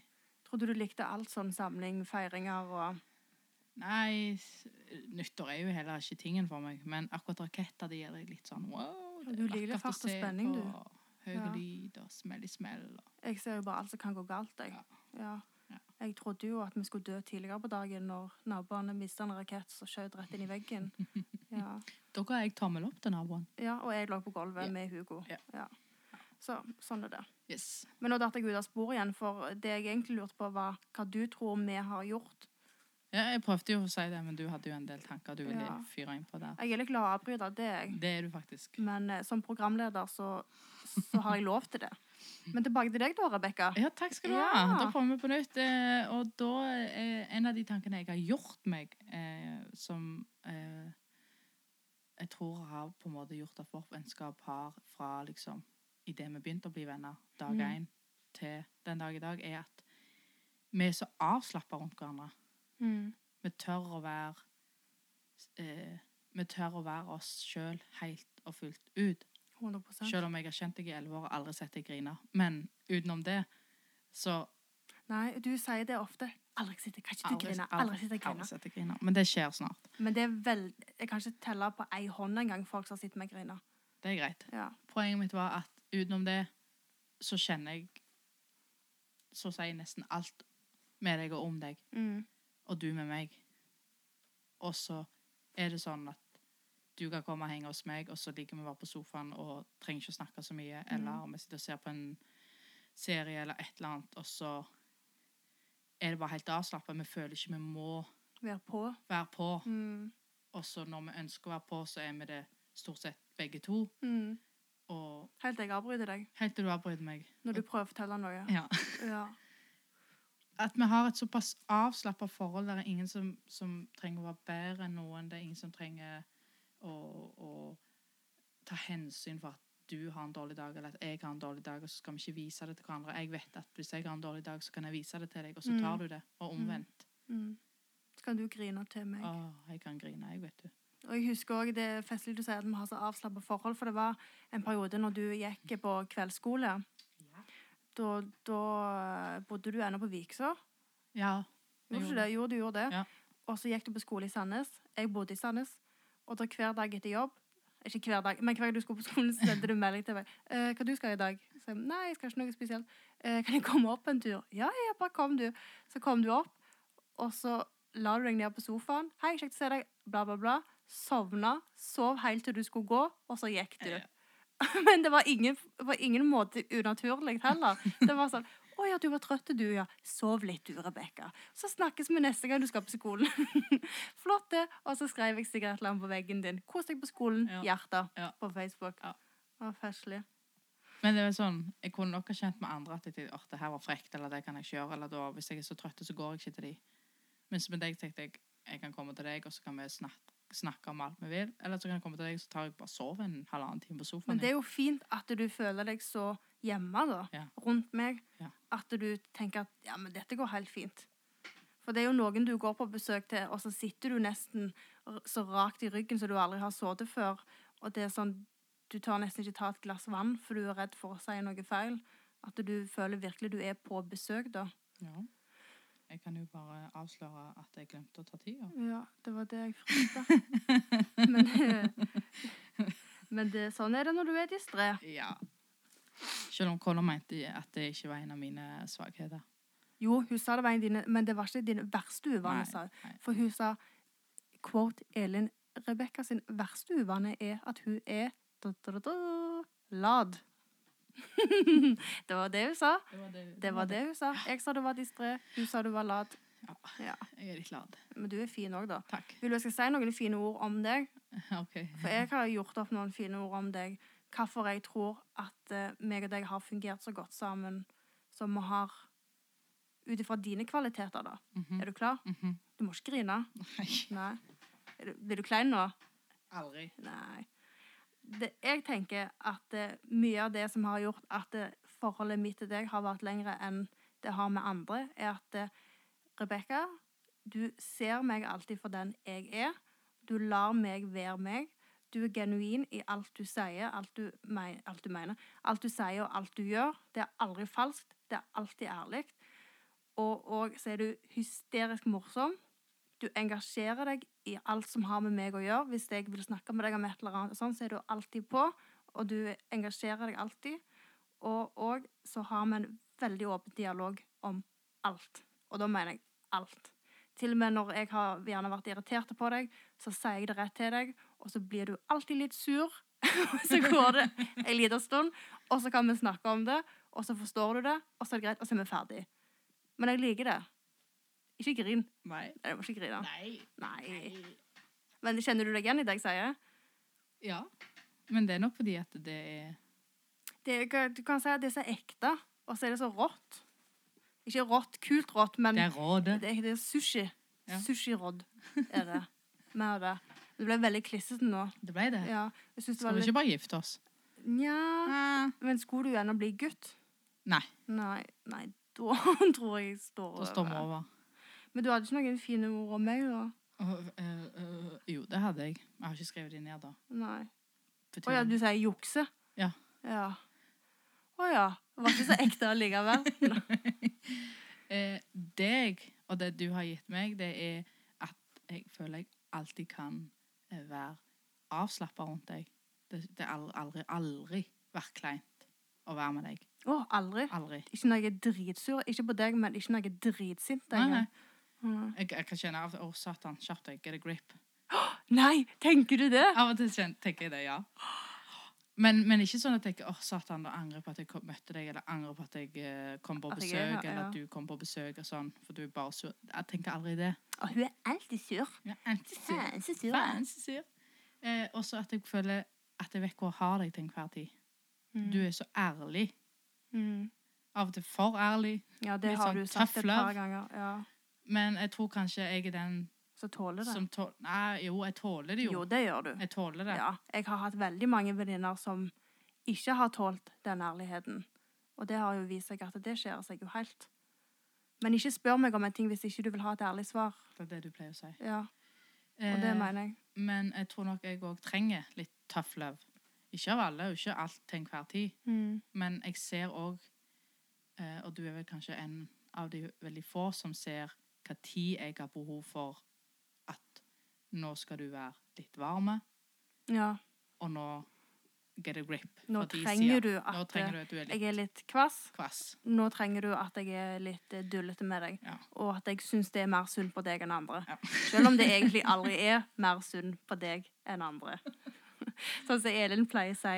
S1: Trodde du likte alt sånn samling, feiringer og
S2: Nei, s- nyttår er jo heller ikke tingen for meg. Men akkurat raketter de er litt sånn wow.
S1: Ja, du liker litt fart og spenning, du.
S2: Høy
S1: Ja.
S2: lyd og smell i smell. Og.
S1: Jeg ser jo bare alt som kan gå galt, jeg. Ja.
S2: Ja.
S1: Jeg trodde jo at vi skulle dø tidligere på dagen når naboene mista en rakett som skjøt rett inn i veggen. Ja,
S2: Da ga jeg tommel opp til naboen.
S1: ja Og jeg lå på gulvet
S2: Ja.
S1: med Hugo.
S2: Ja.
S1: Så sånn er det.
S2: Yes.
S1: Men nå datt jeg ut av sporet igjen, for det jeg egentlig lurte på, var hva du tror vi har gjort.
S2: Ja, jeg prøvde jo å si det, men du hadde jo en del tanker du ville
S1: Ja.
S2: fyre inn på der.
S1: Jeg er litt glad i å avbryte, det er jeg.
S2: Det er du faktisk.
S1: Men eh, som programleder så, så har jeg lov til det. Men tilbake til deg da, Rebekka.
S2: Ja, takk skal du ha.
S1: Ja.
S2: Da prøver vi på nytt. eh, Og da er en av de tankene jeg har gjort meg, eh, som eh, jeg tror har på en måte gjort at vårt vennskap har fra liksom idet vi begynte å bli venner, dag
S1: Mm.
S2: én, til den dag i dag, er at vi er så avslappa rundt hverandre.
S1: Mm.
S2: Vi tør å være eh, Vi tør å være oss sjøl helt og fullt ut.
S1: 100
S2: Sjøl om jeg har kjent deg i elleve år og aldri sett deg grine. Men utenom det så
S1: Nei, du sier det ofte. Aldri sitte, kan ikke du grine? Aldri sitte og grine.
S2: aldri sitte og grine. Men det skjer snart.
S1: Men det er vel, jeg kan ikke telle på ei hånd engang folk som har sett meg grine.
S2: Det er greit.
S1: Ja.
S2: Poenget mitt var at utenom det så kjenner jeg så å si nesten alt med deg og om deg,
S1: Mm.
S2: og du med meg. Og så er det sånn at du kan komme og henge hos meg, og så ligger vi bare på sofaen og trenger ikke å snakke så mye,
S1: Mhm.
S2: eller vi sitter og ser på en serie eller et eller annet, og så er det bare helt avslappet. Vi føler ikke vi må
S1: Være på.
S2: være på.
S1: Mm.
S2: Og så når vi ønsker å være på, så er vi det stort sett begge to.
S1: Mm.
S2: Og
S1: Helt til jeg avbryter deg
S2: helt til du avbryter meg.
S1: når du prøver å fortelle noe.
S2: Ja.
S1: Ja.
S2: At vi har et såpass avslappa forhold. Det er ingen som, som trenger å være bedre enn noen. Det er ingen som trenger å, å ta hensyn for at du har en dårlig dag, eller at jeg har en dårlig dag, og så skal vi ikke vise det til hverandre. Jeg vet at hvis jeg har en dårlig dag, så kan jeg vise det til deg, og så
S1: Mm.
S2: tar du det. Og omvendt.
S1: Mm. Så kan du grine til meg.
S2: Å, jeg kan grine, jeg, vet du.
S1: Og jeg husker også det er festlig du sier at vi har så avslappet forhold, for det var en periode når du gikk på kveldsskole. Da, da bodde du ennå på Vikså.
S2: Ja. jeg
S1: Gjorde du
S2: gjorde
S1: det? Jo, du gjorde det.
S2: Ja.
S1: Og så gikk du på skole i Sandnes. Jeg bodde i Sandnes. Og da hver dag etter jobb Ikke hver dag, men hver gang du skulle på skolen, så sendte du melding til meg. Eh, 'Hva du skal i dag?' Så jeg, 'Nei, jeg skal ikke noe spesielt.' Eh, 'Kan jeg komme opp en tur?' 'Ja, ja, bare kom, du.' Så kom du opp, og så la du deg ned på sofaen. 'Hei, kjekt å se deg.' Bla, bla, bla. Sovna. Sov helt til du skulle gå, og så gikk du.
S2: Ja.
S1: Men det var ingen, på ingen måte unaturlig heller. Det var sånn Å ja, du var trøtt, du, ja. Sov litt, du, Rebekka. Så snakkes vi neste gang du skal på skolen. Flott, det. Og så skrev jeg sigarettland på veggen din. Kos deg på skolen.
S2: Ja.
S1: Hjerter.
S2: Ja.
S1: På Facebook.
S2: Ja.
S1: Det var festlig.
S2: Men det er vel sånn, jeg kunne nok ha kjent med andre at jeg tenkte, «Åh, det her var frekt, eller det kan jeg ikke gjøre, eller da, hvis jeg er så trøtt, så går jeg ikke til de. Mens med deg tenkte jeg, jeg kan komme til deg, og så kan vi snakke, snakke om alt vi vil, eller så kan jeg komme til deg, så tar jeg bare og sover en halvannen time på sofaen.
S1: Men det er jo fint at du føler deg så hjemme, da.
S2: Ja.
S1: Rundt meg.
S2: Ja.
S1: At du tenker at ja, men dette går helt fint. For det er jo noen du går på besøk til, og så sitter du nesten r- så rakt i ryggen som du aldri har sittet før. Og det er sånn Du tør nesten ikke ta et glass vann, for du er redd for å si noe feil. At du føler virkelig du er på besøk, da.
S2: Ja. Jeg kan jo bare avsløre at jeg glemte å ta tida.
S1: Ja, det var det jeg frykta. Men, eh, men det, sånn er det når du er distré.
S2: Ja. Selv om Colin mente at det ikke var en av mine svagheter.
S1: Jo, hun sa det var en av dine, men det var ikke dine verste
S2: Nei,
S1: uvaner, sa hun.
S2: nei.
S1: For hun sa, quote Elin, Rebekka sin verste uvane er at hun er da, da, da, da, lad. det var det hun sa.
S2: Det var det,
S1: Det var det hun sa. Jeg sa du var distré, hun sa du var lat.
S2: Ja.
S1: Ja.
S2: Jeg er litt glad.
S1: Men du er fin òg, da.
S2: Takk.
S1: Vil du jeg skal si noen fine ord om deg?
S2: Ok.
S1: For jeg har gjort opp noen fine ord om deg. Hvorfor jeg tror at eh, meg og deg har fungert så godt sammen som vi har ut ifra dine kvaliteter, da.
S2: Mhm,
S1: Er du klar?
S2: mhm.
S1: Du må ikke grine.
S2: Nei,
S1: Nei. Er du- Blir du klein nå?
S2: aldri.
S1: Nei. Det, jeg tenker at eh, mye av det som har gjort at eh, forholdet mitt til deg har vært lengre enn det har med andre, er at eh, Rebekka, du ser meg alltid for den jeg er. Du lar meg være meg. Du er genuin i alt du sier, alt du, me- alt du mener. Alt du sier og alt du gjør. Det er aldri falskt. Det er alltid ærlig. Og, og så er du hysterisk morsom du engasjerer deg i alt som har med meg å gjøre. Hvis jeg vil snakke med deg om et eller annet, og sånn, så er du alltid på, og du engasjerer deg alltid. Og, og så har vi en veldig åpen dialog om alt. Og da mener jeg alt. Til og med når jeg har gjerne vært irritert på deg, så sier jeg det rett til deg, og så blir du alltid litt sur. Og så går det en liten stund, og så kan vi snakke om det, og så forstår du det, og så er det greit, og så er vi ferdig. Men jeg liker det. Ikke grin.
S2: Nei.
S1: Nei, Jeg må ikke grine.
S2: Nei.
S1: Nei. Men kjenner du deg igjen i det jeg sier?
S2: Ja. Men det er nok fordi at det er
S1: Det, er ikke- du kan si at det er så ekte, og så er det så rått. Ikke rått, kult rått, men
S2: Det
S1: det
S2: er rådet.
S1: er, det er sushi.
S2: Ja.
S1: Sushirådd er det. Mer av det. Det ble veldig klissete nå.
S2: Det ble det.
S1: Ja, jeg synes det var
S2: Skal vi
S1: litt...
S2: ikke bare gifte oss?
S1: Nja, men skulle du gjerne bli gutt?
S2: Nei.
S1: Nei, nei, da tror jeg jeg står
S2: Da står vi over.
S1: Men du hadde ikke noen fine ord om meg da?
S2: Øh, øh, øh, jo, det hadde jeg. Jeg har ikke skrevet de ned, da.
S1: Nei.
S2: For
S1: Å ja,
S2: tiden.
S1: du sier jukse?
S2: Ja.
S1: Ja. Å ja. Det var ikke så ekte allikevel.
S2: Eh, deg, og det du har gitt meg, det er at jeg føler jeg alltid kan eh, være avslappa rundt deg. Det, det har aldri, aldri vært kleint å være med deg.
S1: Å, aldri.
S2: Aldri.
S1: Ikke når jeg er dritsur. Ikke på deg, men ikke når jeg er dritsint.
S2: Nei,
S1: en
S2: nei.
S1: gang. Mm.
S2: Jeg, jeg kan kjenne av Å, satan, skjerp deg. Get a grip.
S1: Nei, tenker du det?
S2: Av og til kjen- tenker jeg det, ja. Men, men ikke sånn at jeg åh, satan, da angrer jeg på at jeg kom, møtte deg, eller angrer på at jeg eh, kom på
S1: At jeg
S2: besøk,
S1: er her,
S2: eller
S1: ja.
S2: at du kom på besøk, og sånn, for du er bare sur. Jeg tenker aldri det.
S1: Å, hun er alltid sur.
S2: Jeg er alltid sur.
S1: Faen, så sur.
S2: Faen, så sur. Eh, også at jeg føler at jeg vet hvor jeg har deg til enhver tid. Du er så ærlig.
S1: Mm.
S2: Av og til for ærlig.
S1: Ja, det
S2: Litt
S1: har
S2: sånn
S1: du sagt
S2: tough
S1: et par
S2: love.
S1: ganger. Ja.
S2: Men jeg tror kanskje jeg er den
S1: Så tåler det.
S2: som tåler Nei, jo, jeg tåler det
S1: Jo.
S2: jo.
S1: det gjør du.
S2: Jeg tåler det.
S1: Ja. Jeg har hatt veldig mange venninner som ikke har tålt den ærligheten. Og det har jo vist seg at det skjer seg jo helt. Men ikke spør meg om en ting hvis ikke du vil ha et ærlig svar.
S2: Det er det du pleier å si.
S1: Ja, og det
S2: Eh,
S1: mener jeg.
S2: Men jeg tror nok jeg òg trenger litt tough love. Ikke av alle, og ikke alt til enhver tid.
S1: Mm.
S2: Men jeg ser òg, eh, og du er vel kanskje en av de veldig få som ser hva tid jeg har behov for at nå skal du være litt varme,
S1: Ja,
S2: og nå get a grip.
S1: nå
S2: For de
S1: trenger
S2: sier,
S1: du at
S2: nå trenger du at du er
S1: eh,
S2: litt
S1: jeg er litt kvass.
S2: kvass.
S1: Nå trenger du at jeg er litt eh, dullete med deg,
S2: Ja.
S1: og at jeg syns det er mer synd på deg enn andre.
S2: Ja.
S1: Selv om det egentlig aldri er mer synd på deg enn andre. Sånn som Elin pleier å si,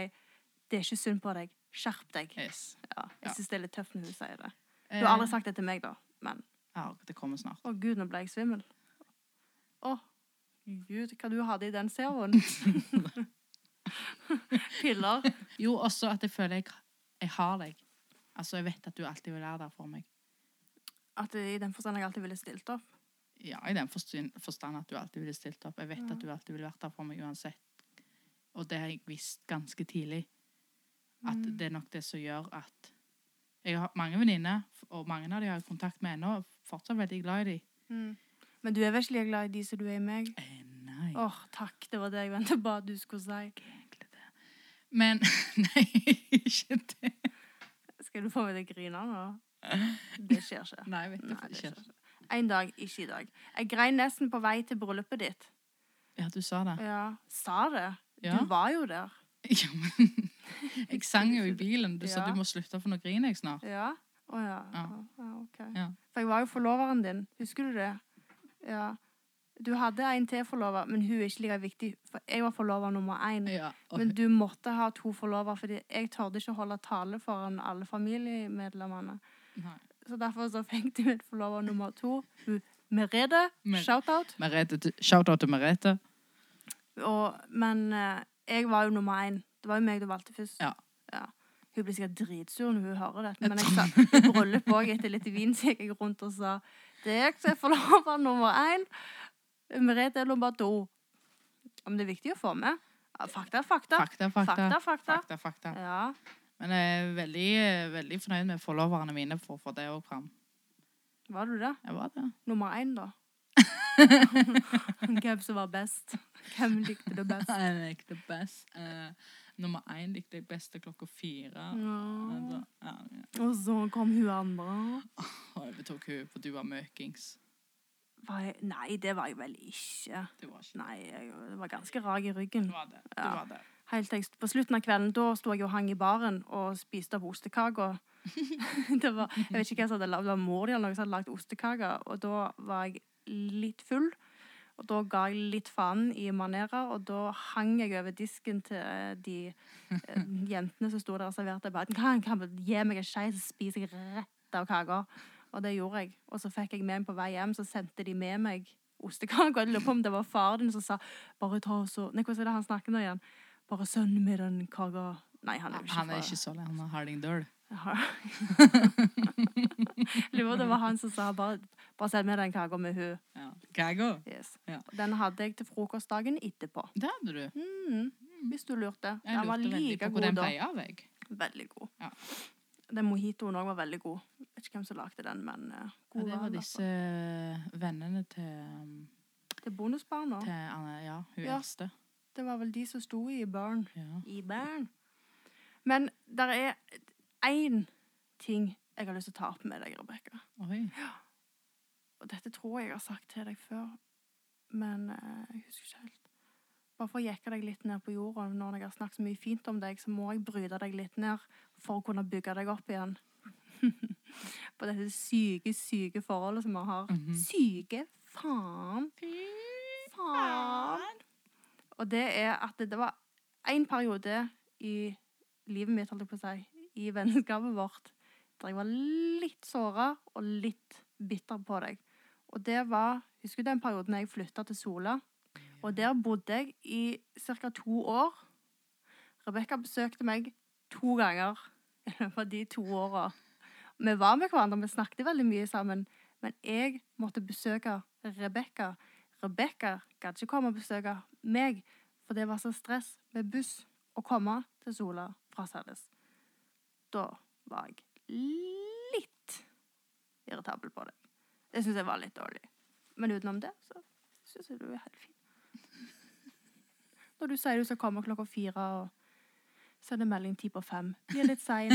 S1: det er ikke synd på deg, skjerp deg.
S2: Yes.
S1: Ja,
S2: Ja. Eh.
S1: jeg syns det er litt tøft når hun sier det. Du har aldri sagt det til meg, da, men
S2: Ja, det kommer snart.
S1: å gud, nå ble jeg svimmel. Å gud, hva du hadde i den servoen. Piller.
S2: Jo, også at jeg føler jeg, jeg har deg. Altså, jeg vet at du alltid vil være der for meg.
S1: At I den forstand jeg alltid ville stilt opp.
S2: Ja, i den forstand, forstand at du alltid ville stilt opp. Jeg vet
S1: Ja.
S2: at du alltid ville vært der for meg uansett. Og det har jeg visst ganske tidlig. At
S1: Mm.
S2: det er nok det som gjør at Jeg har mange venninner, og mange av de har jeg kontakt med ennå. og Fortsatt veldig glad i dem.
S1: Mm. Men du er vel ikke like glad i de som du er i meg?
S2: Eh, nei.
S1: Åh, takk. Det var det jeg ventet på at du skulle si.
S2: egentlig det. Men Nei, ikke det.
S1: Skal du få meg til å grine nå? Det skjer ikke.
S2: Nei, vet du
S1: Nei, det
S2: ikke.
S1: skjer ikke. En dag, ikke i dag. Jeg grein nesten på vei til bryllupet ditt.
S2: Ja, du sa det.
S1: Ja, sa det.
S2: Ja.
S1: Du var jo der.
S2: Ja, men Jeg sang jo i bilen. Du sa
S1: Ja.
S2: du må slutte, for nå griner jeg snart.
S1: Ja? Å ja.
S2: Ja.
S1: ja. ok.
S2: Ja.
S1: For jeg var jo forloveren din. Husker du det? Ja. Du hadde en til forlover, men hun er ikke like viktig, for jeg var forlover nummer én.
S2: Ja, og-
S1: Men du måtte ha to forlovere, fordi jeg tørde ikke å holde tale foran alle familiemedlemmene.
S2: Nei.
S1: Så derfor så fikk de min forlover nummer to. Hun Merede,
S2: Mer-
S1: shout-out.
S2: Merete, Shout-out til Merete.
S1: Og- Men eh, jeg var jo nummer én. Det var jo meg du valgte først.
S2: Ja.
S1: Hun blir sikkert dritsur når hun hører det. Men jeg sa, i bryllup òg, etter litt vin, så gikk jeg rundt og sa det er jeg som er forlova nummer én. Merete er nummer to. Men det er viktig å få med. Ja, Fakta, fakta.
S2: Fakta,
S1: Fakta,
S2: fakta.
S1: fakta.
S2: Fakta, fakta.
S1: Ja.
S2: Men jeg er veldig, veldig fornøyd med forloverne mine for å få det òg fram.
S1: Var du det?
S2: Jeg var det.
S1: Nummer én, da? Hvem som var best? Hvem likte det best?
S2: Jeg likte best. eh, nummer én likte jeg best til klokka fire.
S1: Ja.
S2: Altså, ja, ja.
S1: Og så kom hun andre.
S2: Og overtok hun, for du var møkings.
S1: Var jeg, nei, det var jeg vel ikke.
S2: Du var ikke
S1: Nei, jeg jeg var ganske rak i ryggen.
S2: Du var det. Du
S1: Ja.
S2: var det.
S1: Helt til jeg st- på slutten av kvelden, da sto jeg og hang i baren og spiste av ostekaker. det var, jeg vet ikke hvem som hadde lagd, det var mor di eller noen som hadde lagd ostekaker, og da var jeg litt full. Og da ga jeg litt faen i manerer, og da hang jeg over disken til eh, de eh, jentene som sto der og serverte. Jeg bare, kan, kan du gi meg en skei, så spiser jeg rett av kaker. Og det gjorde jeg. Og så fikk jeg med meg på vei hjem, så sendte de med meg ostekaker. Jeg lurer på om det var faren din som sa, bare ta og så, nei, hvordan er det han snakker nå igjen? Bare sønn med den kaka. Nei, han er jo ikke
S2: Han er
S1: fra-
S2: ikke så lei. Han er hardingdøl.
S1: Jaha. Lurer på om det var han som sa bare, bare send meg den kaka med hun.
S2: Ja. Gago.
S1: Yes.
S2: Ja.
S1: Og Den hadde jeg til frokostdagen etterpå.
S2: Det hadde du.
S1: Mm. Hvis du lurte.
S2: Jeg
S1: Den var
S2: lurte veldig
S1: like
S2: på
S1: god
S2: hvor den
S1: da.
S2: ble av. Jeg.
S1: Veldig god.
S2: Ja.
S1: Den mojitoen òg var veldig god. Vet ikke hvem som lagde den, men eh,
S2: Ja,
S1: god
S2: det
S1: var
S2: var
S1: den.
S2: disse eh,
S1: altså.
S2: vennene til, um,
S1: Det er bonusbarna.
S2: til Anne, ja, hun
S1: Ja.
S2: eldste.
S1: Det var vel de som sto i Burn.
S2: Ja.
S1: I Burn. Men der er én ting jeg har lyst til å ta opp med deg, Rebekka.
S2: Oi.
S1: Og dette tror jeg jeg har sagt til deg før, men eh, jeg husker ikke helt. Bare for å jekke deg litt ned på jorda, når jeg har snakket så mye fint om deg, så må jeg bryte deg litt ned for å kunne bygge deg opp igjen. på dette syke, syke forholdet som vi har.
S2: Mhm.
S1: Syke faen. Faen. Og det er at det, det var en periode i livet mitt, holdt jeg på å si, i vennskapet vårt, der jeg var litt såra og litt bitter på deg. Og det var Husker du den perioden jeg flytta til Sola? Og der bodde jeg i ca. to år. Rebekka besøkte meg to ganger i løpet av de to åra. Vi var med hverandre, vi snakket veldig mye sammen, men jeg måtte besøke Rebekka. Rebekka gadd ikke komme og besøke meg, for det var så stress med buss å komme til Sola fra Sandnes. Da var jeg litt irritabel på det. Det syns jeg var litt dårlig. Men utenom det så syns jeg du er helt fin. Når du sier du skal komme klokka fire og sende melding ti på fem, blir litt sein.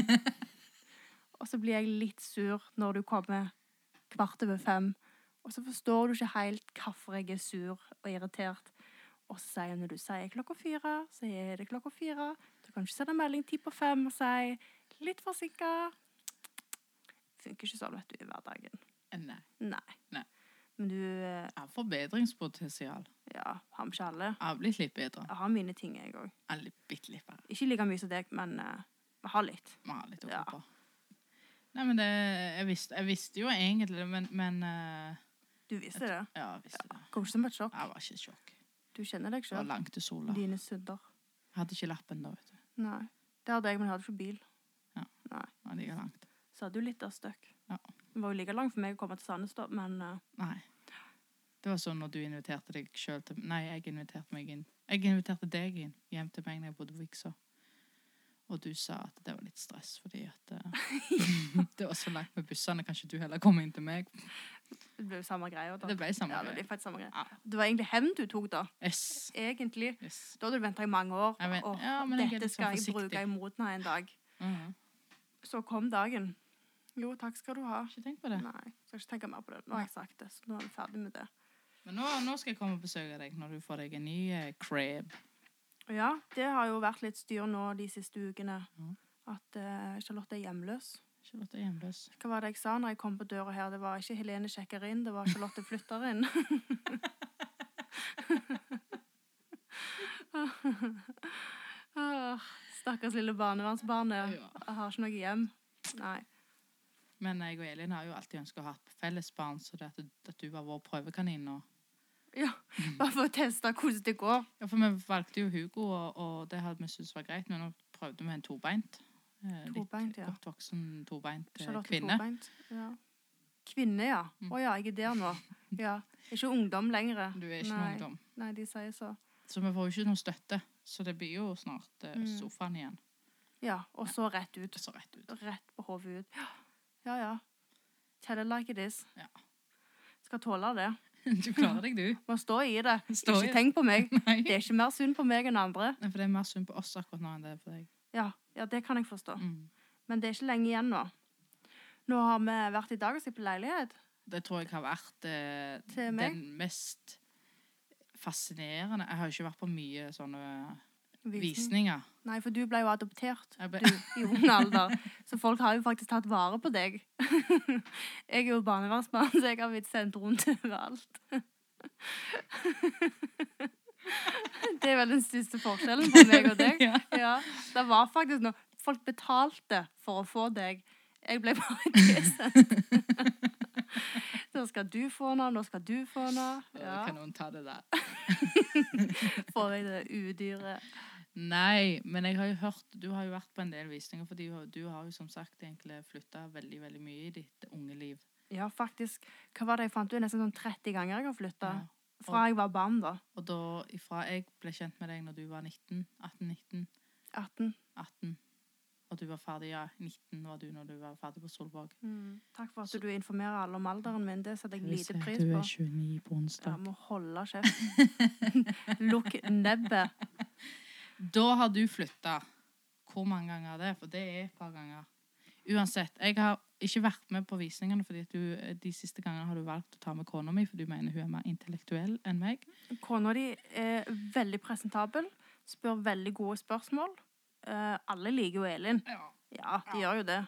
S1: Og så blir jeg litt sur når du kommer kvart over fem. Og så forstår du ikke helt hvorfor jeg er sur og irritert. Og så sier jeg når du sier klokka fire, så er det klokka fire. Du kan ikke sende melding ti på fem og si litt forsinka. Funker ikke sånn, vet du, i hverdagen.
S2: Nei.
S1: Nei.
S2: Nei.
S1: Men du eh,
S2: Jeg har forbedringspotensial.
S1: Ja, har vi ikke alle?
S2: Jeg har blitt litt bedre.
S1: Jeg har mine ting, jeg òg.
S2: Jeg er litt, bitte litt bedre.
S1: Ikke like mye som deg, men eh, jeg har litt.
S2: Vi har litt å gå
S1: Ja.
S2: på. Nei, men det, jeg, visste, jeg visste jo egentlig det, men, men eh,
S1: Du visste det.
S2: Ja, jeg visste det.
S1: Kommer ikke som et sjokk.
S2: Jeg var ikke i sjokk.
S1: Du kjenner deg
S2: Det var
S1: sjøl.
S2: langt til sola. Jeg
S1: Dine synder.
S2: hadde ikke lappen da, vet du.
S1: Nei. Det hadde jeg, men jeg hadde ikke bil.
S2: Det var like langt.
S1: Så hadde du litt av støkk.
S2: Ja.
S1: Det var jo like langt for meg å komme til Sandnes, da, men eh,
S2: Nei. Det var sånn når du inviterte deg sjøl til Nei, jeg inviterte meg inn. Jeg inviterte deg inn hjem til meg når jeg bodde på Vikså. Og du sa at det var litt stress fordi at eh, Det var så langt med bussene. Kanskje du heller kom inn til meg?
S1: det ble jo samme greia. da.
S2: Det ble samme
S1: ja, det ble
S2: greie.
S1: faktisk samme greie.
S2: Ja.
S1: Det var egentlig hevn du tok, da.
S2: Yes.
S1: Egentlig.
S2: yes.
S1: Da hadde du venta i mange år.
S2: Jeg vet-
S1: og
S2: ja, men jeg er
S1: dette
S2: litt sånn
S1: skal jeg
S2: forsiktig.
S1: bruke imot meg en dag.
S2: Mhm.
S1: Så kom dagen. Jo, takk skal du ha.
S2: Ikke tenk på det.
S1: Nei, skal ikke tenke mer på det. Nå har jeg sagt det, så nå er vi ferdig med det.
S2: Men nå, nå skal jeg komme og besøke deg når du får deg en ny eh, crab.
S1: Ja, det har jo vært litt styr nå de siste ukene.
S2: Ja.
S1: At eh, Charlotte er hjemløs.
S2: Charlotte er hjemløs.
S1: Hva var det jeg sa når jeg kom på døra her? Det var ikke Helene sjekker inn, det var Charlotte flytter inn. Åh, Stakkars lille barnevernsbarnet.
S2: Ja.
S1: Jeg har ikke noe hjem. Nei.
S2: Men jeg og Elin har jo alltid ønsket å ha et felles barn, så det at, at du var vår prøvekanin nå
S1: Ja, bare for å teste hvordan det går.
S2: Ja, for vi valgte jo Hugo, og, og det hadde vi syntes var greit, men nå prøvde vi en tobeint. eh, litt
S1: Tobeint, ja.
S2: godt voksen, tobeint eh,
S1: Charlotte
S2: kvinne.
S1: Tobeint. Ja. Kvinne, ja. Å
S2: Mm.
S1: ja, jeg er der nå. Ja. Ikke ungdom lenger.
S2: Du er ikke
S1: Nei.
S2: noen ungdom.
S1: Nei, de sier så.
S2: Så vi får jo ikke noe støtte. Så det blir jo snart eh,
S1: Mm.
S2: sofaen igjen.
S1: Ja, og så rett ut.
S2: Det så rett ut.
S1: Rett på hodet ut. Ja, ja. ja. Tell it like it is.
S2: Ja.
S1: Skal tåle det.
S2: Du klarer deg, du.
S1: Må stå i det.
S2: Stå i
S1: ikke
S2: det.
S1: tenk på meg.
S2: Nei.
S1: Det er ikke mer synd på meg enn andre.
S2: Nei, for det er mer synd på oss akkurat nå enn det er på deg.
S1: Ja, ja, det kan jeg forstå.
S2: Mm.
S1: Men det er ikke lenge igjen nå. Nå har vi vært i dag og sett på leilighet.
S2: Det tror jeg har vært eh,
S1: Til meg?
S2: den mest fascinerende Jeg har jo ikke vært på mye sånne visninger.
S1: Nei, for du ble jo adoptert
S2: Jeg
S1: du,
S2: ble-
S1: i ung alder. Så folk har jo faktisk tatt vare på deg. Jeg er jo barnevernsbarn, så jeg har blitt sendt rundt overalt. Det er vel den største forskjellen på meg og deg.
S2: ja.
S1: Ja, det var faktisk noe. Folk betalte for å få deg. Jeg ble bare tilsendt. Nå skal du få noe, nå skal du få noe.
S2: Å,
S1: Ja,
S2: Kan noen ta det der?
S1: får jeg det udyret.
S2: Nei, men jeg har jo hørt Du har jo vært på en del visninger, for du, har- du har jo som sagt egentlig flytta veldig, veldig mye i ditt unge liv.
S1: Ja, faktisk. Hva var det jeg fant ut? Nesten sånn 30 ganger jeg har flytta.
S2: Ja.
S1: Fra jeg var barn, da.
S2: Og da ifra jeg ble kjent med deg når du var 19, 18-19,
S1: 18.
S2: 18 Og du var ferdig, ja, 19 var du når du var ferdig på Solborg.
S1: Mm. Takk for at du informerer alle om alderen min. Det setter jeg lite pris på.
S2: 29 på
S1: Jeg må holde kjeft. Lukk nebbet.
S2: Da har du flytta. Hvor mange ganger er det? For det er et par ganger. Uansett, jeg har ikke vært med på visningene, fordi at du, eh, de siste gangene har du valgt å ta med kona mi, for du mener hun er mer intellektuell enn meg.
S1: Kona di er veldig presentabel, spør veldig gode spørsmål. Eh, alle liker jo Elin. Ja, de gjør jo det.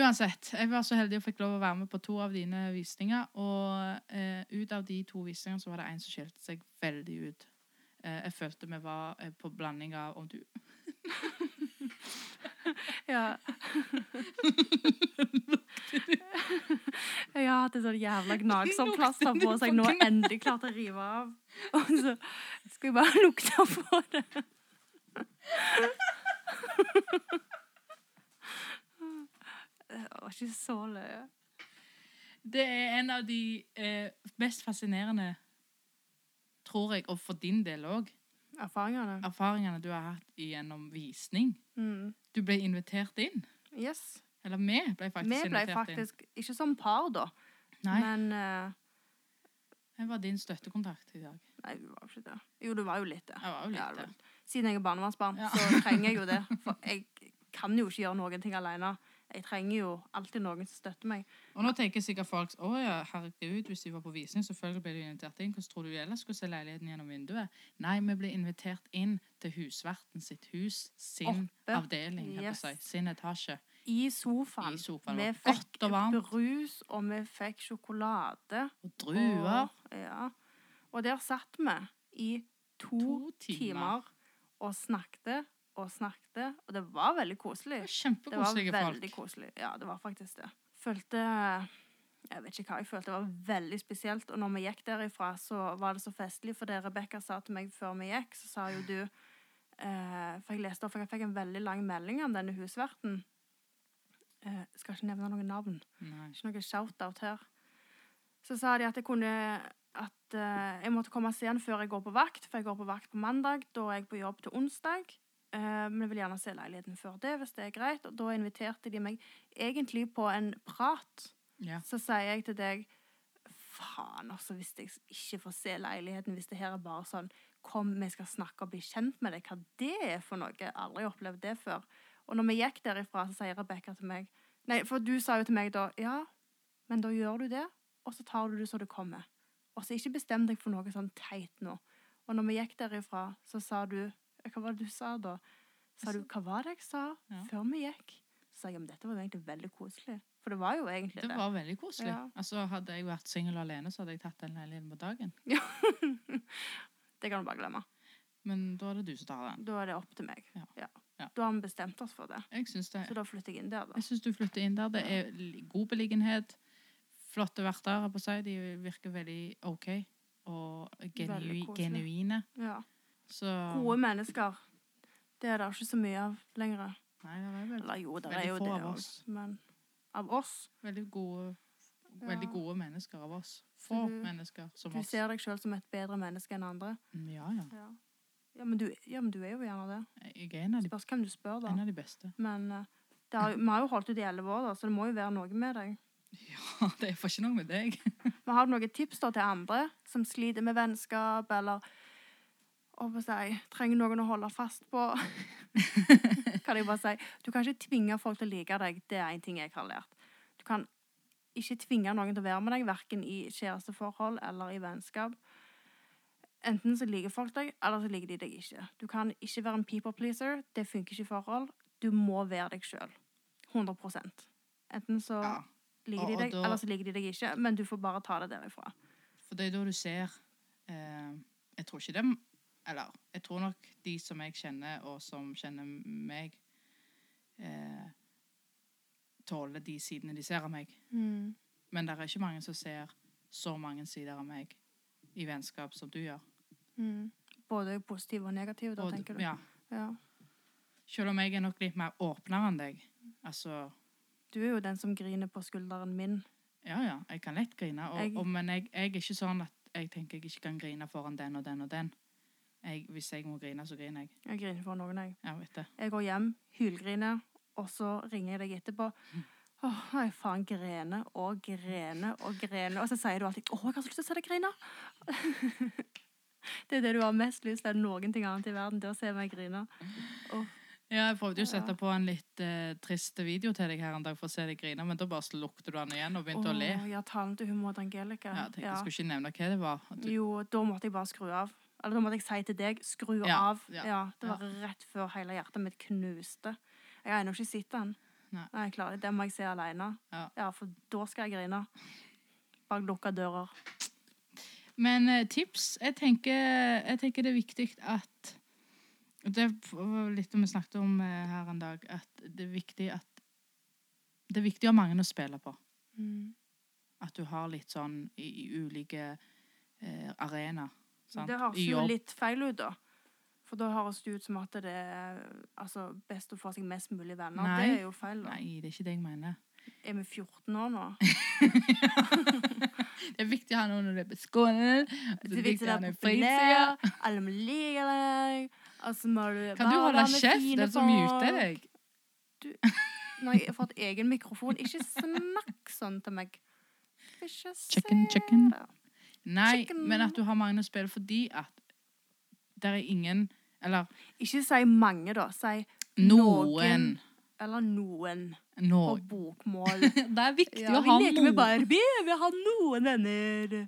S2: Uansett, jeg var så heldig og fikk lov å være med på to av dine visninger, og eh, ut av de to visningene så var det en som skilte seg veldig ut. Eh, jeg følte vi var eh, på blanding av om du
S1: Ja. Jeg har hatt et sånn jævla gnagsomt plaster på seg nå endelig klarte å rive av. Og så skal jeg bare lukte på det. Det var ikke så løye.
S2: Det er en av de eh, mest fascinerende, tror jeg, og for din del òg,
S1: Erfaringene.
S2: erfaringene du har hatt gjennom visning.
S1: Mm.
S2: Du ble invitert inn.
S1: Yes.
S2: Eller vi ble faktisk
S1: Vi ble
S2: invitert
S1: faktisk ikke som par, da.
S2: inn. Nei,
S1: Men eh,
S2: jeg var din støttekontakt i dag.
S1: Nei, du var jo ikke det. Jo, du var jo litt det.
S2: Jeg var jo
S1: Ja,
S2: litt
S1: det
S2: det.
S1: var- Siden jeg er barnevernsbarn,
S2: Ja.
S1: så trenger jeg jo det. For jeg kan jo ikke gjøre noen ting alene. Jeg trenger jo alltid noen som støtter meg.
S2: Og nå tenker sikkert folk å ja, herregud, hvis de var på visning, selvfølgelig ble du invitert inn. Hvordan tror du de ellers skulle se leiligheten gjennom vinduet? Nei, vi ble invitert inn til husverten sitt hus, sin
S1: Oppe.
S2: avdeling, holdt jeg på å
S1: Yes.
S2: si, sin etasje.
S1: I sofaen.
S2: I sofaen.
S1: Vi
S2: Det var
S1: fikk
S2: godt og varmt.
S1: brus, og vi fikk sjokolade.
S2: Og druer.
S1: Og, ja. og der satt vi i to,
S2: To
S1: timer.
S2: timer.
S1: og snakket og snakket. Og det var veldig
S2: Det
S1: koselig.
S2: var
S1: Det var
S2: Kjempekoselige
S1: veldig
S2: folk.
S1: koselig. Ja, det var faktisk det. Følte Jeg vet ikke hva jeg følte. Det var veldig spesielt. Og når vi gikk derifra, så var det så festlig, for det Rebekka sa til meg før vi gikk, så sa jo du eh, For jeg leste opp, for jeg fikk en veldig lang melding om denne husverten. Eh, skal ikke nevne noen navn.
S2: Nei.
S1: Ikke noe shout-out her. Så sa de at jeg kunne at eh, jeg måtte komme sent før jeg går på vakt, for jeg går på vakt på mandag. Da er jeg på jobb til onsdag. Eh, men jeg vil gjerne se leiligheten før det, hvis det er greit. Og da inviterte de meg egentlig på en prat.
S2: Ja.
S1: Så sier jeg til deg Faen, altså, hvis jeg ikke får se leiligheten, hvis det her er bare sånn Kom, vi skal snakke og bli kjent med deg. Hva det er for noe? Jeg har aldri opplevd det før. Og når vi gikk derifra, så sier Rebekka til meg Nei, for du sa jo til meg da Ja, men da gjør du det, og så tar du det så det kommer. Og så ikke bestem deg for noe sånn teit nå. Og når vi gikk derifra, så sa du Hva var det du sa da? Sa du Hva var det jeg sa
S2: Ja.
S1: før vi gikk? Så sa jeg ja, men dette var jo egentlig veldig koselig. For det var jo egentlig
S2: Det var veldig koselig.
S1: Ja.
S2: Altså, hadde jeg vært singel alene, så hadde jeg tatt den leiligheten på dagen.
S1: Det kan du bare glemme.
S2: Men da er det du som tar den.
S1: Da er det opp til meg.
S2: Ja.
S1: Ja.
S2: Ja.
S1: Da har vi bestemt oss for det.
S2: Jeg syns, det,
S1: Så da flytter jeg inn der, da.
S2: jeg syns du flytter inn der. Det er li- god beliggenhet. Flotte verter, holdt på å si. De virker veldig OK. Og genui,
S1: Veldig koselig.
S2: genuine.
S1: Ja.
S2: Så
S1: Gode mennesker. Det er det ikke så mye av lenger.
S2: Nei, det er vel
S1: Eller jo, det
S2: Veldig
S1: er jo
S2: få
S1: det
S2: av
S1: òg.
S2: oss.
S1: Men av oss
S2: veldig gode,
S1: Ja.
S2: veldig gode mennesker av oss.
S1: Så
S2: Få
S1: du-
S2: mennesker som
S1: Du
S2: oss.
S1: ser deg sjøl som et bedre menneske enn andre.
S2: Mm, Ja, ja.
S1: Ja. Ja, men du, ja, men du er jo gjerne det.
S2: Jeg er en av de,
S1: Spørs hvem du spør, da.
S2: en av de beste.
S1: Men eh, det har, jo- vi har jo holdt ut i elleve år, da, så det må jo være noe med deg.
S2: Ja, det er for ikke noe med deg.
S1: Men har du noen tips da til andre som sliter med vennskap, eller å hva skal jeg si, trenger noen å holde fast på? kan jeg bare si. Du kan ikke tvinge folk til å like deg. Det er en ting jeg har lært. Du kan ikke tvinge noen til å være med deg, verken i kjæresteforhold eller i vennskap. Enten så liker folk deg, eller så liker de deg ikke. Du kan ikke være en people pleaser. Det funker ikke i forhold. Du må være deg sjøl. 100 Enten så
S2: Ja.
S1: liker
S2: Og-
S1: de
S2: og
S1: deg,
S2: da-
S1: eller så liker de deg ikke, men du får bare ta det derifra.
S2: For det er da du ser eh, Jeg tror ikke dem Eller jeg tror nok de som jeg kjenner, og som kjenner meg, eh, tåler de sidene de ser av meg. Mm, Men det er ikke mange som ser så mange sider av meg i vennskap som du gjør.
S1: Både positive og negative, da,
S2: mm. Og-
S1: tenker du?
S2: ja,
S1: Ja.
S2: selv om jeg er nok litt mer åpnere enn deg. Altså,
S1: Du er jo den som griner på skulderen min.
S2: ja, ja, jeg kan lett grine. Og,
S1: Jeg-
S2: og, men jeg, jeg er ikke sånn at jeg tenker jeg ikke kan grine foran den og den og den. Jeg, hvis jeg må grine, så griner jeg.
S1: Jeg griner for noen, jeg.
S2: Ja, vet det.
S1: Jeg går hjem, hylgriner, og så ringer jeg deg etterpå. Åh, jeg faen grener og grener og grener. Og så sier du alltid 'Å, jeg har så lyst til å se deg grine'. det er det du har mest lyst til enn noen ting annet i verden. Det å se meg grine.
S2: Ja, jeg prøvde jo å
S1: Ja.
S2: sette på en litt eh, trist video til deg her en dag for å se deg grine, men da bare slukte du den igjen og begynte å le.
S1: Åh, ja, talen til hun mot Angelica.
S2: Ja, jeg tenkte jeg skulle ikke nevne hva det var. At du,
S1: Jo, da måtte jeg bare skru av. Eller da måtte jeg si til deg 'skru
S2: Ja,
S1: av'.
S2: ja,
S1: Ja, Det var rett før hele hjertet mitt knuste. Jeg har ennå ikke sett den.
S2: Nei.
S1: jeg klarer det. Den må jeg se alene.
S2: Ja.
S1: for da skal jeg grine. Bak lukka dører.
S2: Men eh, tips, jeg tenker, jeg tenker det er viktig at, det var litt om vi snakket om eh, her en dag, at det er viktig at, det er viktig å ha mange å spille på. Mm. At du har litt sånn i, i ulike eh, arenaer, sant?
S1: Det høres
S2: I
S1: jo
S2: jobb.
S1: litt feil ut, da. For da høres det ut som at det er altså, best å få seg mest mulig venner.
S2: Nei.
S1: Det er jo feil. da.
S2: Nei, det er ikke det jeg mener.
S1: Er vi 14 år nå?
S2: Det er viktig å ha noen å løpe skolen.
S1: Det er viktig å være populær. Alle må like deg. Altså, må du
S2: Kan du
S1: bare
S2: holde
S1: være med
S2: kjeft?
S1: fine
S2: Den som
S1: folk.
S2: muter deg.
S1: Når jeg har fått egen mikrofon, ikke snakk sånn til meg. Skal Ikke se
S2: Chicken, chicken.
S1: det.
S2: Nei,
S1: Chicken.
S2: men at du har mange å spille fordi at det er ingen Eller
S1: Ikke si mange, da. Si
S2: noen.
S1: Noen. eller noen på
S2: Noen.
S1: bokmål.
S2: Det er viktig
S1: Ja,
S2: å ha
S1: vi leker med
S2: noen.
S1: Barbie. Vi har noen venner.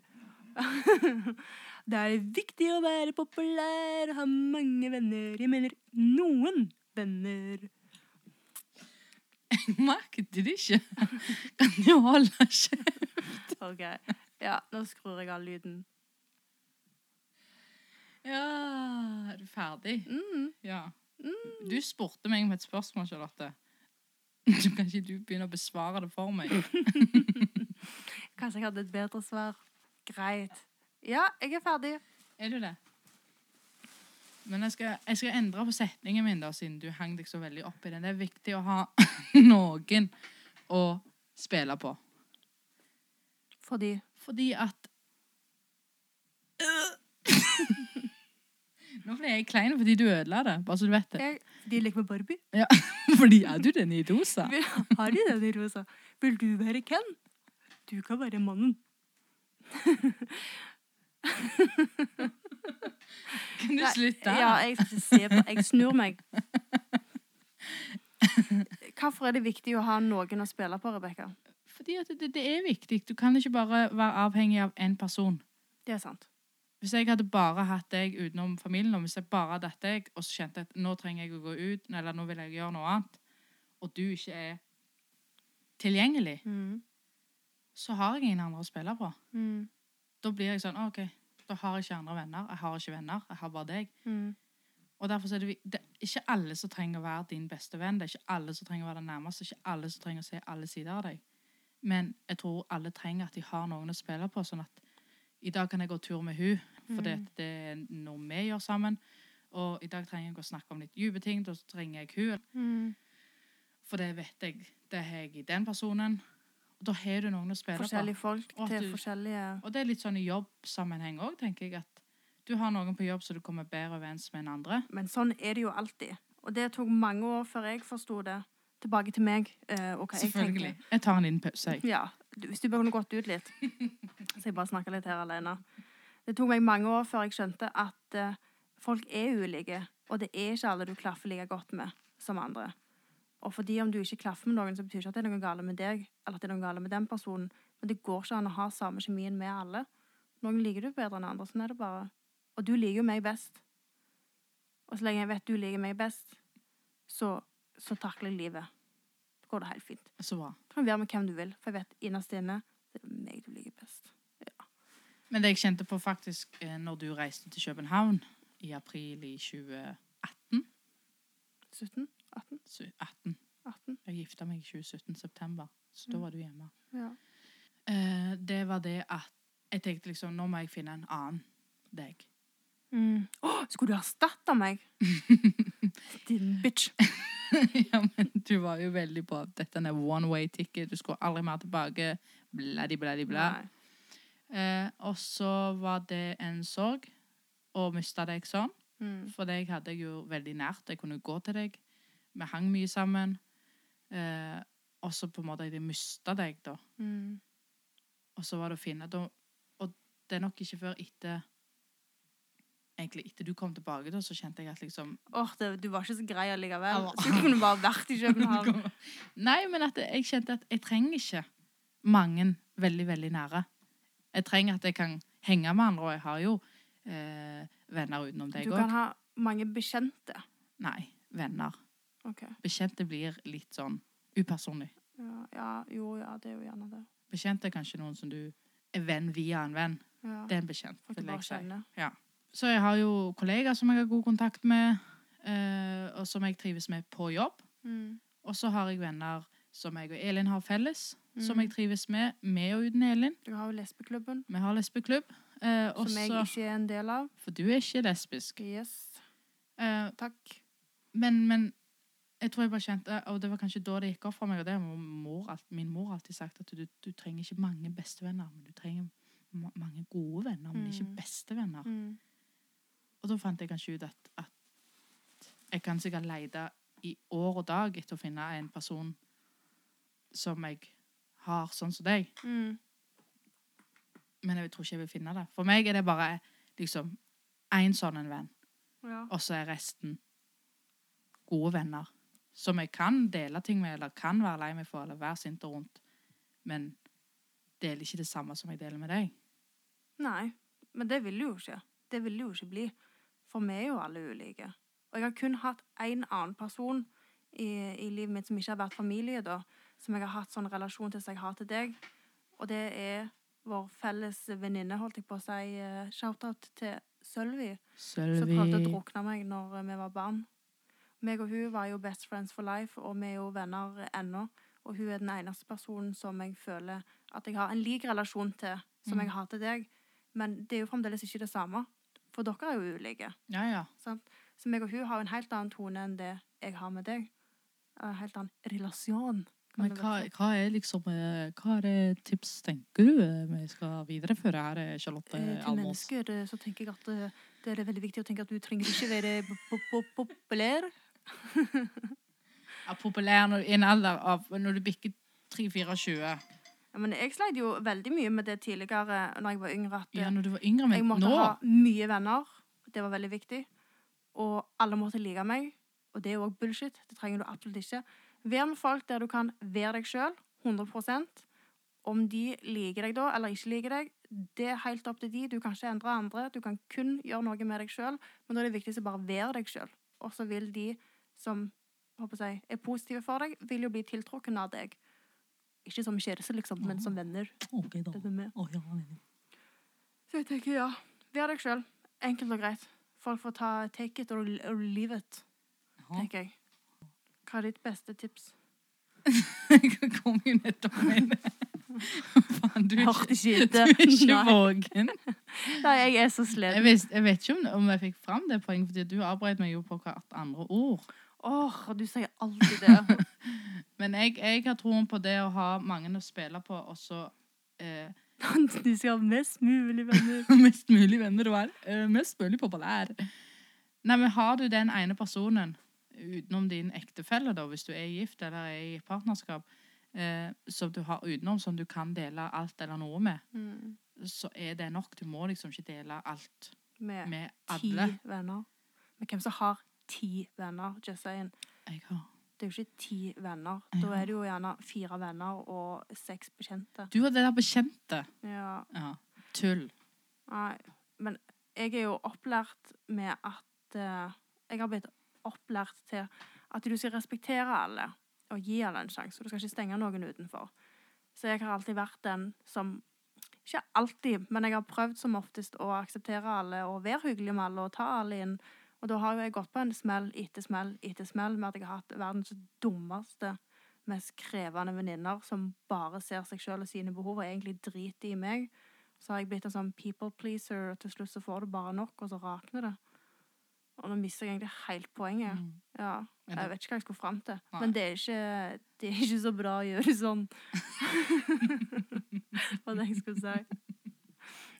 S1: Det er viktig å være populær og ha mange venner. Jeg mener noen venner.
S2: Merket du det ikke? Kan du holde kjeft?
S1: OK. Ja, nå skrur jeg av lyden.
S2: Ja, Mm. er du ferdig?
S1: Mm.
S2: Ja. Du spurte meg om et spørsmål, Charlotte. Så kan ikke du begynne å besvare det for meg?
S1: Kanskje jeg hadde et bedre svar. Greit. Ja, jeg er ferdig.
S2: Er du det? Men jeg skal, jeg skal endre på setningen min, da, siden du hang deg så veldig opp i den. Det er viktig å ha noen å spille på.
S1: Fordi
S2: Fordi at Nå ble jeg klein fordi du ødela det. Bare så du vet det.
S1: jeg, de leker med Barbie.
S2: Fordi er du den idosa?
S1: Vil, har de den i rosa? Vil du være Ken? Du kan være mannen.
S2: Kan du
S1: Nei,
S2: slutte?
S1: Ja, jeg skal ikke se på. Jeg snur meg. Hvorfor er det viktig å ha noen å spille på, Rebekka?
S2: Fordi at det, det er viktig. Du kan ikke bare være avhengig av én person.
S1: Det er sant.
S2: Hvis jeg hadde bare hatt deg utenom familien, og hvis jeg bare hadde hatt deg, og så kjente jeg at nå trenger jeg å gå ut, eller nå vil jeg gjøre noe annet, og du ikke er tilgjengelig, så har jeg ingen andre å spille på.
S1: Mm.
S2: Da blir jeg sånn, «Å, ok, da har jeg ikke andre venner, jeg har ikke venner, jeg har bare deg. Og derfor så er det, vi- det er ikke alle som trenger å være din beste venn, det er ikke alle som trenger å være den nærmeste, det er ikke alle som trenger å se alle sider av deg. Men jeg tror alle trenger at de har noen å spille på, sånn at i dag kan jeg gå tur med hun, for det,
S1: Mm.
S2: det er noe
S1: Mm.
S2: vi gjør sammen. Og i dag trenger jeg å snakke om litt dype ting, da trenger jeg hun. For det vet jeg. Det har jeg i den personen. Og da har du noen å spille
S1: Forskjellige folk
S2: Og at
S1: til
S2: du-
S1: forskjellige
S2: på. Og det er litt sånn i jobbsammenheng òg, tenker jeg. at Du har noen på jobb så du kommer bedre overens med enn andre.
S1: Men sånn er det jo alltid. Og det tok mange år før jeg forsto det. Tilbake til meg eh, og hva jeg
S2: Selvfølgelig.
S1: tenker.
S2: Jeg, tar en liten pause, jeg.
S1: Ja, du- Hvis du bare kunne gått ut litt. Så jeg bare snakker litt her alene. Det tok meg mange år før jeg skjønte at eh, folk er ulike, og det er ikke alle du klaffer like godt med som andre. Og fordi om du ikke klaffer med noen, så betyr ikke at det er noe galt med deg, eller at det er noe galt med den personen. Men det går ikke an å ha samme kjemien med alle. Noen liker du bedre enn andre, sånn er det bare. Og du liker jo meg best. Og så lenge jeg vet du liker meg best, så, så takler jeg livet. Da går det helt fint.
S2: Så bra.
S1: Du kan være med hvem du vil, for jeg vet innerst inne det er meg du liker best.
S2: Men det jeg kjente på faktisk eh, når du reiste til København i april i 2018
S1: 17? 18?
S2: så- 18.
S1: 18?
S2: Jeg gifta meg i 2017, september, så da var du hjemme.
S1: Mm. Ja.
S2: Eh, det var det at jeg tenkte liksom Nå må jeg finne en annen deg.
S1: Mm. Åh, skulle du erstatte meg? Din bitch.
S2: ja, men du var jo veldig på at dette er one way ticket, du skulle aldri mer tilbake. Bladdi, bladdi, bla.
S1: Nei.
S2: Eh, og så var det en sorg å miste deg sånn.
S1: Mm.
S2: For deg hadde jeg jo veldig nært. Jeg kunne gå til deg. Vi hang mye sammen. Eh, og så på en måte jeg mista deg, da.
S1: Mm.
S2: Og så var det å finne da, Og det er nok ikke før etter Egentlig etter du kom tilbake, da, så kjente jeg at liksom
S1: Åh, det, du var ikke så grei allikevel.
S2: Ja.
S1: Så du kunne bare vært i København.
S2: Nei, men at jeg kjente at jeg trenger ikke mange veldig, veldig nære. Jeg trenger at jeg kan henge med andre, og jeg har jo eh, venner utenom deg
S1: Du kan
S2: òg.
S1: ha mange bekjente.
S2: Nei, venner.
S1: Ok.
S2: Bekjente blir litt sånn upersonlig.
S1: Ja, ja, jo, ja, det er jo gjerne det.
S2: Bekjente er kanskje noen som du er venn via en venn.
S1: Ja.
S2: Det er en bekjent.
S1: Folk du
S2: vil jeg
S1: bare
S2: si.
S1: kjenner.
S2: Så jeg har jo kollegaer som jeg har god kontakt med, eh, og som jeg trives med på jobb.
S1: Mm.
S2: Og så har jeg venner som jeg og Elin har felles, som
S1: Mm.
S2: jeg trives med, med og uten Elin.
S1: Du har jo lesbeklubben,
S2: Vi har lesbeklubb. Eh,
S1: som jeg
S2: også,
S1: ikke er en del av.
S2: for du er ikke lesbisk.
S1: Yes,
S2: Eh,
S1: takk.
S2: men, men jeg tror jeg bare kjente, og det var kanskje da det gikk opp for meg, og det har mor, alt- min mor alltid sagt, at du, du trenger ikke mange bestevenner, men du trenger ma mange gode venner, men ikke
S1: Mm.
S2: bestevenner.
S1: Mm.
S2: Og da fant jeg kanskje ut at, at jeg kan sikkert leide i år og dag etter å finne en person som jeg har sånn som deg.
S1: Mm.
S2: Men jeg tror ikke jeg vil finne det. For meg er det bare liksom én sånn en venn,
S1: Ja.
S2: og så er resten gode venner. Som jeg kan dele ting med, eller kan være lei meg for, eller være sint og rundt. Men deler ikke det samme som jeg deler med deg.
S1: Nei, men det vil det jo ikke. Det vil det jo ikke bli. For vi er jo alle ulike. Og jeg har kun hatt én annen person i, i livet mitt som ikke har vært familie, da, som jeg har hatt sånn relasjon til som jeg har til deg. Og det er vår felles venninne, holdt jeg på å si. eh, Shout-out til Sølvi, som prøvde å drukne meg når eh, vi var barn. Meg og hun var jo best friends for life, og vi er jo venner ennå. Og hun er den eneste personen som jeg føler at jeg har en lik relasjon til som
S2: Mm.
S1: jeg har til deg. Men det er jo fremdeles ikke det samme, for dere er jo ulike.
S2: Ja, ja.
S1: Sant? Så meg og hun har en helt annen tone enn det jeg har med deg. En helt annen relasjon. kan
S2: Men
S1: du vel
S2: hva,
S1: si.
S2: hva er liksom eh, Hva er det tips tenker du eh, vi skal videreføre her, eh, Charlotte
S1: Eh, Til
S2: Almås?
S1: mennesker eh, så tenker jeg at eh, det er veldig viktig å tenke at du trenger ikke være po- po- po- populær.
S2: Er populær når, i en alder av når du bikker 3-24.
S1: Ja, men jeg sleit jo veldig mye med det tidligere når jeg var yngre. At, eh,
S2: Ja, når du var yngre,
S1: Jeg
S2: men
S1: måtte
S2: nå
S1: ha mye venner. Det var veldig viktig. Og alle måtte like meg. Og det er jo også bullshit. Det trenger du absolutt ikke. Vær med folk der du kan være deg sjøl. 100 Om de liker deg da, eller ikke liker deg, det er helt opp til de. Du kan ikke endre andre. Du kan kun gjøre noe med deg sjøl. Men da er det viktigste bare å være deg sjøl. Og så vil de som håper jeg, er positive for deg, vil jo bli tiltrukken av deg. Ikke som kjæreste, liksom, men som venner.
S2: OK, da.
S1: Det er med.
S2: Å, ja, ja.
S1: Så jeg tenker, ja, vær deg sjøl. Enkelt og greit. Folk får ta take it or, or leave it,
S2: Ja.
S1: tenker jeg. Hva er ditt beste tips?
S2: Jeg kom jo nettopp med det. Faen, du er ikke,
S1: ikke
S2: du er ikke
S1: Nei.
S2: våken.
S1: Nei, jeg er så
S2: Jeg,
S1: sliten.
S2: vis- jeg vet ikke om, om jeg fikk fram det poenget, fordi du avbrøt meg jo på hvert andre ord.
S1: Å, Åh, du sier alltid det.
S2: Men jeg, jeg har troen på det å ha mange å spille på, og så eh,
S1: du skal ha mest mulig venner.
S2: mest mulig venner du er. eh, mest mulig populær. Nei, men har du den ene personen, utenom din ektefelle, da, hvis du er gift eller er i et partnerskap, eh, som du har utenom, som du kan dele alt eller noe med,
S1: Mm.
S2: så er det nok. Du må liksom ikke dele alt
S1: Med
S2: med
S1: ti
S2: alle.
S1: venner. Men hvem som har ti venner? Just saying.
S2: Jeg har.
S1: Det er jo ikke ti venner. Da
S2: Ja.
S1: er det jo gjerne fire venner og seks bekjente.
S2: Du og det der bekjente.
S1: Ja,
S2: Ja. Tull.
S1: nei. Men jeg er jo opplært med at eh, Jeg har blitt opplært til at du skal respektere alle og gi alle en sjanse. Du skal ikke stenge noen utenfor. Så jeg har alltid vært den som Ikke alltid, men jeg har prøvd som oftest å akseptere alle og være hyggelig med alle og ta alle inn. Og da har jo jeg gått på en smell etter smell etter smell med at jeg har hatt verdens dummeste, mest krevende venninner som bare ser seg sjøl og sine behov og egentlig driter i meg. Så har jeg blitt en sånn people pleaser, og til slutt så får du bare nok, og så rakner det. Og nå mister jeg egentlig helt poenget.
S2: Mm.
S1: Ja.
S2: Men
S1: Jeg
S2: det,
S1: vet ikke hva jeg skulle fram til.
S2: Nei.
S1: Men det er, ikke, det er ikke så bra å gjøre sånn. Hva var det jeg skulle si.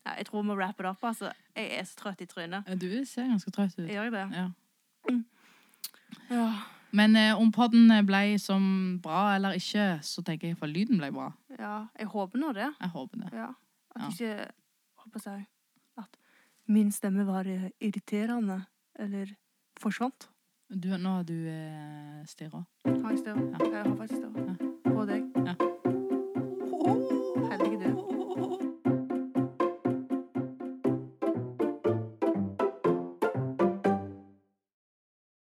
S1: Nei, jeg tror vi må wrap it up. Altså. Jeg er så trøtt i trynet.
S2: du ser ganske trøtt ut.
S1: Gjør jeg det?
S2: Ja.
S1: Ja.
S2: Men eh, om podden ble som bra eller ikke, så tenker jeg for lyden ble bra.
S1: ja. Jeg håper nå det.
S2: Jeg håper det.
S1: Ja.
S2: Ja.
S1: At ikke Håper jeg at min stemme var eh, irriterende eller forsvant.
S2: Du, nå har du eh, stirra.
S1: Har jeg større?
S2: Ja.
S1: Jeg har faktisk større. På deg.
S2: Ja.